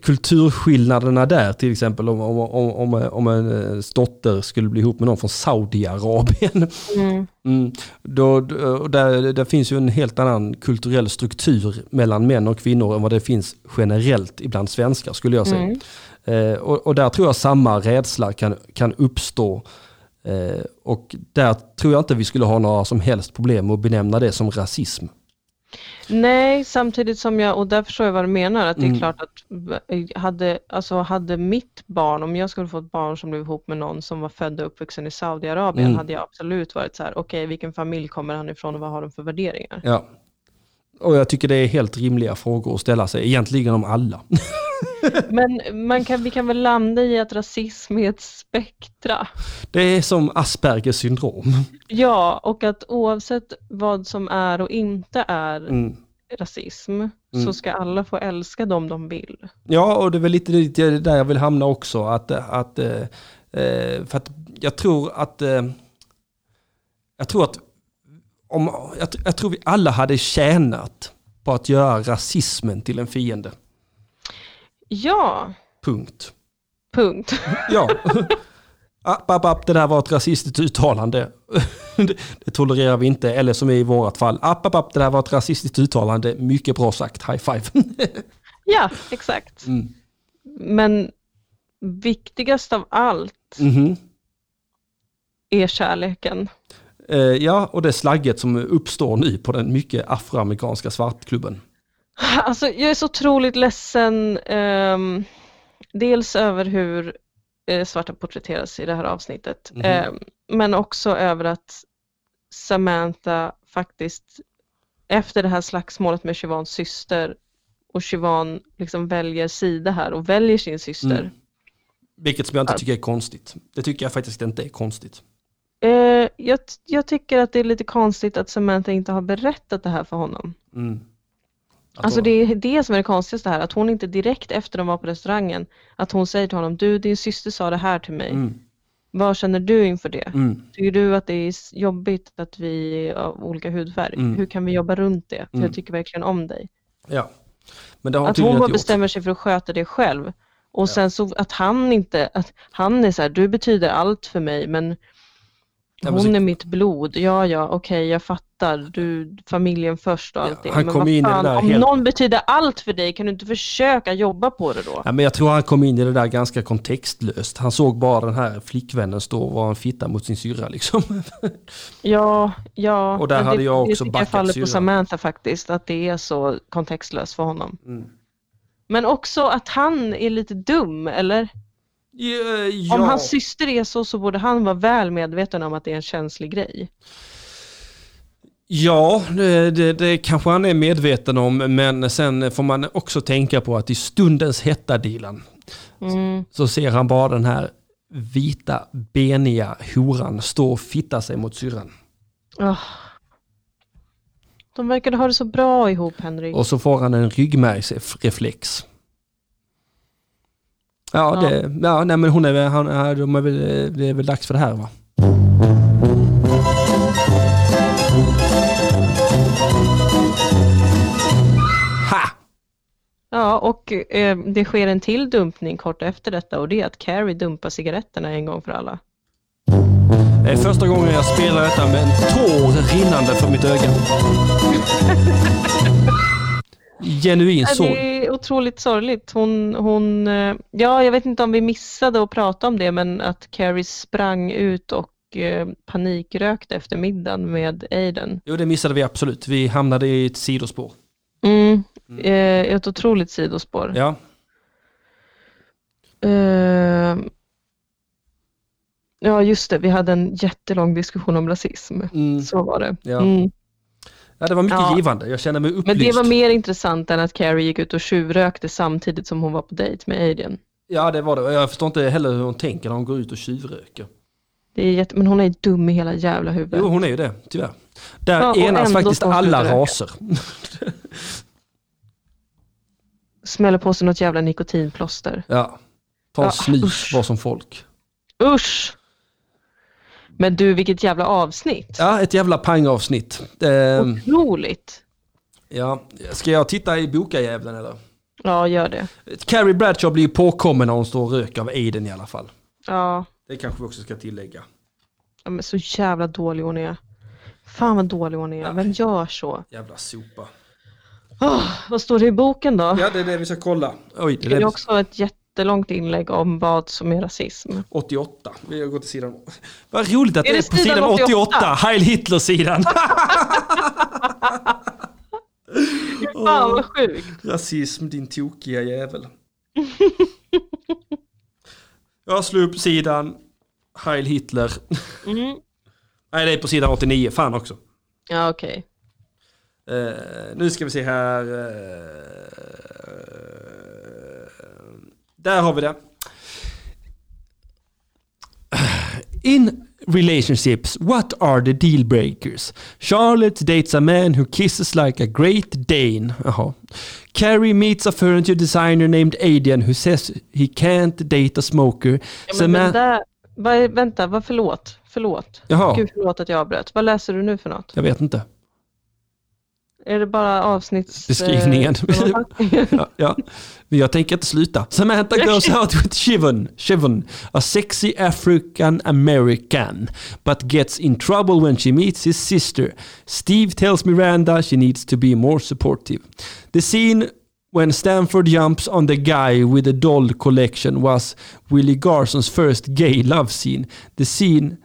Speaker 1: kulturskillnaderna där, till exempel om, om, om, om, om en eh, dotter skulle bli ihop med någon från Saudiarabien.
Speaker 2: Mm.
Speaker 1: [LAUGHS] Mm, då, då- och där, där finns ju en helt annan kulturell struktur mellan män och kvinnor än vad det finns generellt ibland svenskar skulle jag säga. Eh, och, och där tror jag samma rädsla kan, kan uppstå. Eh, och där tror jag inte vi skulle ha några som helst problem med att benämna det som rasism.
Speaker 2: Nej, samtidigt som jag, och där förstår jag vad du menar, att det är
Speaker 1: Mm.
Speaker 2: klart att b- hade, alltså hade mitt barn, om jag skulle få ett barn som blev ihop med någon som var född och uppvuxen i Saudiarabien,
Speaker 1: Mm.
Speaker 2: hade jag absolut varit så här, okej, vilken familj kommer han ifrån och vad har de för värderingar?
Speaker 1: Ja. Och jag tycker det är helt rimliga frågor att ställa sig, egentligen om alla. [LAUGHS]
Speaker 2: Men man kan, vi kan väl landa i att rasism är ett spektra.
Speaker 1: Det är som Aspergers syndrom.
Speaker 2: Ja, och att oavsett vad som är och inte är
Speaker 1: Mm.
Speaker 2: rasism så ska alla få älska dem de vill.
Speaker 1: Ja, och det är väl lite dit jag- där jag vill hamna också. Att, att, eh, eh, för att jag tror att... eh, Jag tror att... Om, jag, tr- jag tror vi alla hade tjänat på att göra rasismen till en fiende.
Speaker 2: Ja,
Speaker 1: Punkt.
Speaker 2: punkt. [LAUGHS]
Speaker 1: Ja. app, app, app, det där var ett rasistiskt uttalande. det, det tolererar vi inte. Eller som i vårat fall. App, app, app, det där var ett rasistiskt uttalande. Mycket bra sagt. High five.
Speaker 2: Ja, exakt.
Speaker 1: Mm.
Speaker 2: Men viktigast av allt
Speaker 1: Mhm.
Speaker 2: är kärleken.
Speaker 1: Eh, ja, och det slagget som uppstår nu på den mycket afroamerikanska svartklubben.
Speaker 2: Alltså, jag är så otroligt ledsen. ehm, dels över hur eh, svarta porträtteras i det här avsnittet.
Speaker 1: Mhm.
Speaker 2: ehm, men också över att Samantha faktiskt efter det här slagsmålet med Chivans syster och Chivan liksom väljer sida här och väljer sin syster.
Speaker 1: Mm. Vilket som jag inte tycker är konstigt. Det tycker jag faktiskt inte är konstigt.
Speaker 2: Eh, jag, jag tycker att det är lite konstigt att Samantha inte har berättat det här för honom.
Speaker 1: Mm. Att
Speaker 2: Alltså
Speaker 1: hon-
Speaker 2: det är det som är det konstigaste här, att hon inte direkt efter de var på restaurangen, att hon säger till honom, du din syster sa det här till mig,
Speaker 1: Mm.
Speaker 2: vad känner du inför det?
Speaker 1: Mm.
Speaker 2: Tycker du att det är s- jobbigt att vi är av olika hudfärg?
Speaker 1: Mm.
Speaker 2: Hur kan vi jobba runt det? För
Speaker 1: Mm.
Speaker 2: jag tycker verkligen om dig.
Speaker 1: Ja. Men det har hon
Speaker 2: Att hon
Speaker 1: tydligen
Speaker 2: bara
Speaker 1: inte gjort.
Speaker 2: bestämmer sig för att sköta det själv. Och sen så att han inte, att han är så här, du betyder allt för mig men
Speaker 1: men
Speaker 2: hon
Speaker 1: så-
Speaker 2: är mitt blod, ja ja okej jag fattar, du, familjen först och allt det.
Speaker 1: han
Speaker 2: men
Speaker 1: kom
Speaker 2: vad
Speaker 1: in i det
Speaker 2: fan,
Speaker 1: där
Speaker 2: om
Speaker 1: helt-
Speaker 2: någon betyder allt för dig, kan du inte försöka jobba på det då?
Speaker 1: Ja, men jag tror han kom in i det där ganska kontextlöst. Han såg bara den här flickvännen stå och vara en fitta mot sin syrra liksom. [LAUGHS]
Speaker 2: Ja, ja.
Speaker 1: Och där
Speaker 2: men
Speaker 1: hade
Speaker 2: det,
Speaker 1: jag också
Speaker 2: det tycker
Speaker 1: backat
Speaker 2: jag faller
Speaker 1: syrran.
Speaker 2: på Samantha faktiskt, att det är så kontextlöst för honom.
Speaker 1: Mm.
Speaker 2: Men också att han är lite dum, eller?
Speaker 1: Ja,
Speaker 2: Om
Speaker 1: ja.
Speaker 2: hans syster är så, så borde han vara väl medveten om att det är en känslig grej.
Speaker 1: Ja, det, det, det kanske han är medveten om, men sen får man också tänka på att i stundens hetta, Dilan, så ser han bara den här vita, beniga horan stå och fitta sig mot syrran.
Speaker 2: Ah. De verkade ha det så bra ihop, Henrik.
Speaker 1: Och så får han en ryggmärgsreflex. Ja, det, ja nej, men hon är, väl- han, han- de är väl, det är väl dags för det här va? Ha!
Speaker 2: Ja, och eh, det sker en till dumpning kort efter detta och det är att Carrie dumpar cigaretterna en gång för alla.
Speaker 1: Det är första gången jag spelar detta med en tår rinnande för mitt öga. Genuin
Speaker 2: Ja,
Speaker 1: sorg.
Speaker 2: Det är otroligt sorgligt. Hon, hon, eh, ja, jag vet inte om vi missade att prata om det, men att Carrie sprang ut och eh, panikrökte efter middagen med Aiden.
Speaker 1: Jo, det missade vi absolut. Vi hamnade i ett sidospår.
Speaker 2: Mm. Eh, ett otroligt sidospår.
Speaker 1: Ja.
Speaker 2: Eh, ja, just det. Vi hade en jättelång diskussion om rasism.
Speaker 1: Mm.
Speaker 2: Så var det.
Speaker 1: Ja.
Speaker 2: Mm.
Speaker 1: ja, det var mycket
Speaker 2: Ja.
Speaker 1: givande. Jag känner mig upplyst.
Speaker 2: Men det var mer intressant än att Carrie gick ut och tjuvrökte samtidigt som hon var på dejt med Aiden.
Speaker 1: Ja, det var det. Jag förstår inte heller hur hon tänker när hon går ut och tjuvröker.
Speaker 2: Det är jätte... Men hon är ju dum i hela jävla huvudet.
Speaker 1: Jo, hon är ju det, tyvärr. Där
Speaker 2: Ja, och
Speaker 1: enas
Speaker 2: ändå
Speaker 1: faktiskt
Speaker 2: står hon
Speaker 1: alla
Speaker 2: tjuvröker.
Speaker 1: raser.
Speaker 2: smäller på sig något jävla nikotinplåster.
Speaker 1: Ja. Ta en
Speaker 2: Ja,
Speaker 1: snus,
Speaker 2: usch.
Speaker 1: var som folk.
Speaker 2: Usch! Men du, vilket jävla avsnitt.
Speaker 1: Ja, ett jävla pangavsnitt. Ehm,
Speaker 2: Otroligt.
Speaker 1: ja. Ska jag titta i bokajävlen eller?
Speaker 2: Ja, gör det.
Speaker 1: Carrie Bradshaw blir ju påkommen när hon står och röker av Aiden i alla fall.
Speaker 2: Ja,
Speaker 1: Det kanske vi också ska tillägga.
Speaker 2: Ja, men så jävla dålig hon är. Fan vad dålig hon är. Vem gör så?
Speaker 1: Jävla sopa.
Speaker 2: Åh, vad står det i boken då?
Speaker 1: Ja, det är det vi ska kolla. Oj, det
Speaker 2: Det
Speaker 1: är
Speaker 2: är
Speaker 1: det.
Speaker 2: också ett jättelångt inlägg om vad som är rasism.
Speaker 1: 88. Vi går till sidan... Vad roligt att det
Speaker 2: Är
Speaker 1: är,
Speaker 2: det
Speaker 1: på sidan
Speaker 2: sidan
Speaker 1: 88.
Speaker 2: 88?
Speaker 1: Heil Hitler-sidan.
Speaker 2: Fan vad sjukt.
Speaker 1: [LAUGHS] Rasism, din tokiga jävel. [LAUGHS] Jag slår upp sidan. Heil Hitler.
Speaker 2: Mm.
Speaker 1: Nej, det är på sidan 89. Fan också.
Speaker 2: Ja, okej.
Speaker 1: Eh, nu ska vi se här. eh, Där har vi det. In relationships, what are the deal breakers? Charlotte dates a man who kisses like a great Dane. Jaha. Carrie meets a furniture designer named Adrian who says he can't date a smoker.
Speaker 2: Men den
Speaker 1: Samantha-
Speaker 2: där, vad, vänta, vad, förlåt. Förlåt.
Speaker 1: Jaha.
Speaker 2: Gud, förlåt att jag avbröt. Vad läser du nu för något?
Speaker 1: Jag vet inte.
Speaker 2: Är det bara avsnitts...
Speaker 1: Beskrivningen. [LAUGHS]
Speaker 2: Eh,
Speaker 1: Ja, ja. Men jag tänker inte sluta. Samantha goes out with Shivon, Shivon, a sexy African American, but gets in trouble when she meets his sister. Steve tells Miranda she needs to be more supportive. The scene when Stanford jumps on the guy with the doll collection was Willie Garson's first gay love scene. The scene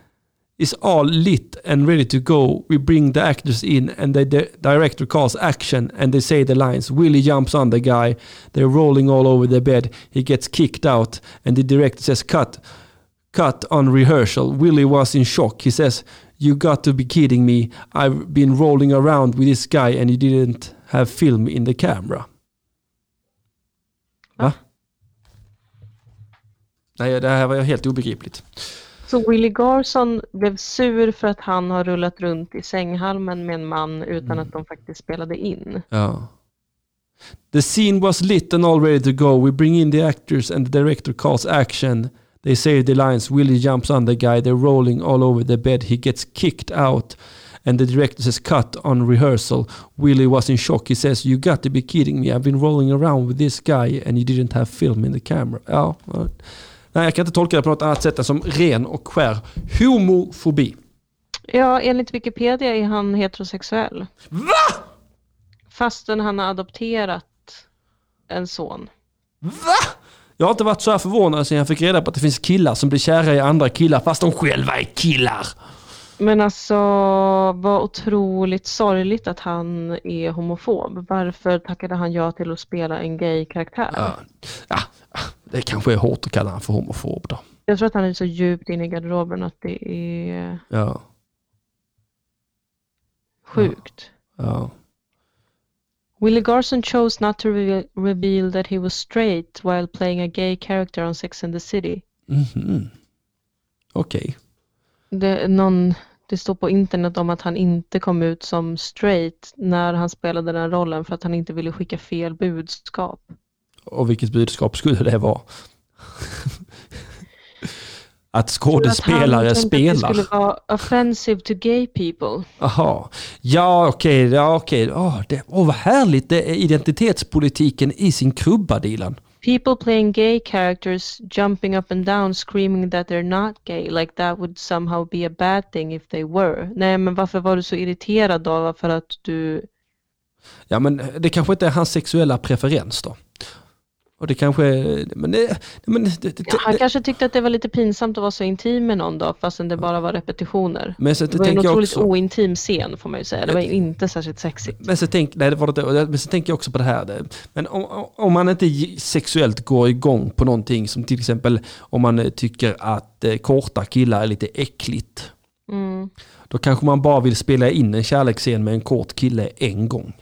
Speaker 1: is all lit and ready to go. We bring the actors in and the di- director calls action and they say the lines. Willie jumps on the guy. They're rolling all over the bed. He gets kicked out and the director says cut. Cut on rehearsal. Willie was in shock. He says, You got to be kidding me. I've been rolling around with this guy and you didn't have film in the camera. Va? Nej, det här var ju helt obegripligt.
Speaker 2: Så Willie Garson blev sur för att han har rullat runt i sänghalmen med en man
Speaker 1: Mm.
Speaker 2: utan att de faktiskt spelade in.
Speaker 1: Ja. The scene was lit and all ready to go. We bring in the actors and the director calls action. They say the lines. Willie jumps on the guy. They're rolling all over the bed. He gets kicked out. And the director says cut on rehearsal. Willie was in shock. He says you got to be kidding me. I've been rolling around with this guy and you didn't have film in the camera. Ja. ja. Nej, jag kan inte tolka det på något annat sätt än som ren och skär homofobi.
Speaker 2: Ja, enligt Wikipedia är han heterosexuell.
Speaker 1: Va?
Speaker 2: Fastän han har adopterat en son.
Speaker 1: Va? Jag har inte varit så här förvånad sedan jag fick reda på att det finns killar som blir kära i andra killar fast de själva är killar.
Speaker 2: Men alltså, vad otroligt sorgligt att han är homofob. Varför tackade han ja till att spela en gay-karaktär?
Speaker 1: Ja, ja, det kanske är hårt att kalla honom för homofob då.
Speaker 2: Jag tror att han är så djupt inne i garderoben att det är
Speaker 1: Ja,
Speaker 2: sjukt.
Speaker 1: ja.
Speaker 2: Willie Garson chose not to reveal, reveal that he was straight while playing a gay character on Sex and the City.
Speaker 1: Mhm. Okej.
Speaker 2: Det, är någon, det står på internet om att han inte kom ut som straight när han spelade den rollen för att han inte ville skicka fel budskap.
Speaker 1: Och vilket budskap skulle det vara? [LAUGHS] att
Speaker 2: Att han
Speaker 1: skådespelare
Speaker 2: tänkte Att det
Speaker 1: spelar?
Speaker 2: skulle vara offensive to gay people.
Speaker 1: Aha. Ja, okej. ja, okej. Åh, det, åh, vad härligt. Det är identitetspolitiken i sin krubba, Dilan.
Speaker 2: People playing gay characters jumping up and down screaming that they're not gay like that would somehow be a bad thing if they were. Nej men varför var du så irriterad då? För att du...
Speaker 1: Ja men det kanske inte är hans sexuella preferens då. Och det kanske, men det, men det, det,
Speaker 2: Han
Speaker 1: det,
Speaker 2: kanske tyckte att det var lite pinsamt att vara så intim med någon då fastän det bara var repetitioner.
Speaker 1: men så
Speaker 2: Det var en
Speaker 1: tänker jag
Speaker 2: otroligt
Speaker 1: också,
Speaker 2: ointim scen får man ju säga. Det var ju inte särskilt sexigt.
Speaker 1: men så, tänk, nej, det var det, inte. men så tänker jag också på det här. det- Men om, om man inte ge- sexuellt går igång på någonting som till exempel om man eh, tycker att eh, korta killar är lite äckligt.
Speaker 2: Mm.
Speaker 1: Då kanske man bara vill spela in en kärleksscen med en kort kille en gång.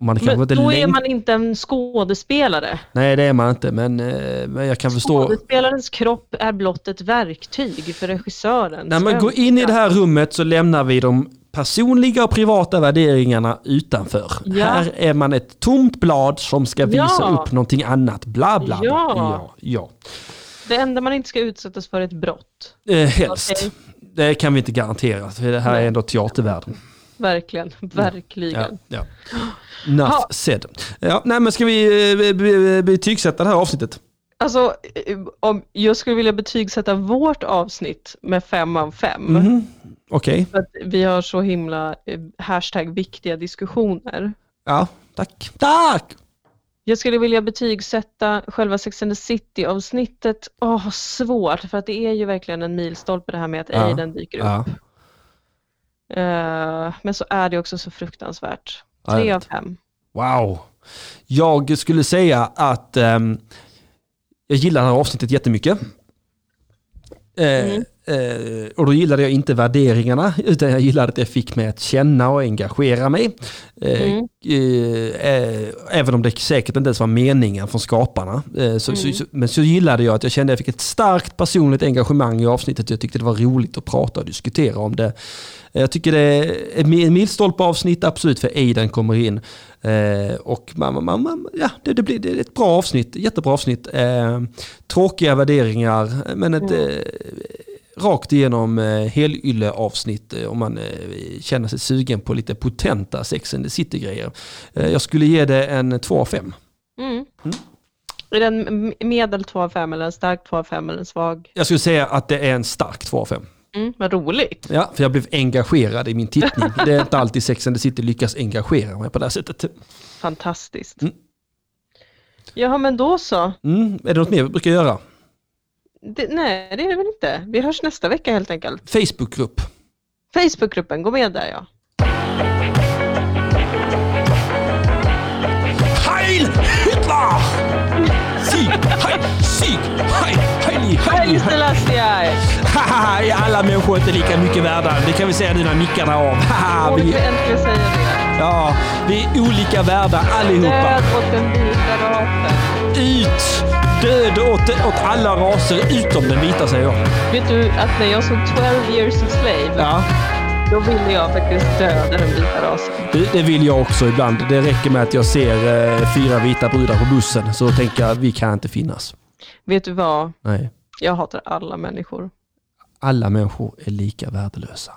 Speaker 1: Man kanske
Speaker 2: Men
Speaker 1: inte
Speaker 2: då är
Speaker 1: läng-
Speaker 2: man inte en skådespelare.
Speaker 1: Nej det är man inte men, eh, men jag kan förstå.
Speaker 2: Skådespelarens kropp är blott ett verktyg för regissören.
Speaker 1: När man går in i det här rummet så lämnar vi de personliga och privata värderingarna utanför.
Speaker 2: Ja.
Speaker 1: Här är man ett tomt blad som ska visa
Speaker 2: Ja.
Speaker 1: upp någonting annat. Bla bla. bla.
Speaker 2: Ja.
Speaker 1: Ja, ja.
Speaker 2: Det enda man inte ska utsättas för är ett brott.
Speaker 1: Eh, helst.
Speaker 2: Okej.
Speaker 1: Det kan vi inte garantera, för det här är
Speaker 2: Nej.
Speaker 1: ändå teatervärlden.
Speaker 2: Verkligen, verkligen.
Speaker 1: Mm. Ja, ja. Enough
Speaker 2: Ha.
Speaker 1: said. Ja, nej, men ska vi eh, be- be- betygsätta det här avsnittet?
Speaker 2: Alltså, eh, om jag skulle vilja betygsätta vårt avsnitt med fem av fem.
Speaker 1: Mhm. Okej.
Speaker 2: För att vi har så himla eh, hashtag viktiga diskussioner.
Speaker 1: Ja, tack. Tack!
Speaker 2: Jag skulle vilja betygsätta själva Sex and the City-avsnittet. Åh, svårt, för att det är ju verkligen en milstolpe det här med att
Speaker 1: Ja.
Speaker 2: Aiden dyker upp.
Speaker 1: Ja.
Speaker 2: Eh, men så är det också så fruktansvärt.
Speaker 1: Ja, jag
Speaker 2: Tre
Speaker 1: vet.
Speaker 2: av fem.
Speaker 1: Wow. Jag skulle säga att ehm, jag gillar det här avsnittet jättemycket. Eh, Eh, och då gillade jag inte värderingarna, utan jag gillade att jag fick mig att känna och engagera mig. Eh,
Speaker 7: Mm.
Speaker 1: eh, eh, även om det säkert inte ens var meningen från skaparna. Eh, så, så, så, men så gillade jag att jag kände att jag fick ett starkt personligt engagemang i avsnittet. Jag tyckte det var roligt att prata och diskutera om det. Eh, Jag tycker det är en mil- milstolpe avsnitt absolut för Aiden kommer in. Eh, och man, man, man- man, ja, det, det blir det är ett bra avsnitt, jättebra avsnitt. Eh, tråkiga värderingar, men ett, eh, rakt igenom eh, helylle avsnitt eh, om man eh, känner sig sugen på lite potenta Sex and the City-grejer. Eh, jag skulle ge det en 2 av 5.
Speaker 2: Mm. Är det en m- medel 2 av 5 eller en stark 2 av 5 eller en svag?
Speaker 1: Jag skulle säga att det är en stark 2 av 5.
Speaker 2: Mm, vad roligt.
Speaker 1: Ja, för jag blev engagerad i min tittning. Det är inte alltid Sex and the City lyckas engagera mig på det här sättet.
Speaker 2: Fantastiskt.
Speaker 1: Mm.
Speaker 2: Jaha, men då så.
Speaker 1: Mm, är det något mer vi brukar göra?
Speaker 2: Det, nej, det är det väl inte. Vi hörs nästa vecka helt enkelt.
Speaker 1: Facebookgrupp.
Speaker 2: Facebookgruppen, gå med där ja.
Speaker 1: Heil Hitler! Sieg, heil, sieg, heil, heil,
Speaker 2: Hej
Speaker 1: heil, heil.
Speaker 2: Celestia!
Speaker 1: Haha, alla människor är inte lika mycket värda. Det kan vi säga nu när mickarna är av. Haha,
Speaker 2: Borde vi
Speaker 1: vi,
Speaker 2: äntligen säga det?
Speaker 1: ja, vi är olika värda allihopa.
Speaker 2: Död åt den vita rasen.
Speaker 1: Ut! Död åt, åt alla raser utom den vita säger jag.
Speaker 2: Vet du att när jag såg 12 years a slave,
Speaker 1: Ja,
Speaker 2: då ville jag faktiskt döda den vita rasen.
Speaker 1: det, det vill jag också ibland. Det räcker med att jag ser eh, fyra vita brudar på bussen så tänker jag vi kan inte finnas.
Speaker 2: Vet du vad?
Speaker 1: Nej,
Speaker 2: Jag hatar alla människor.
Speaker 1: alla människor är lika värdelösa.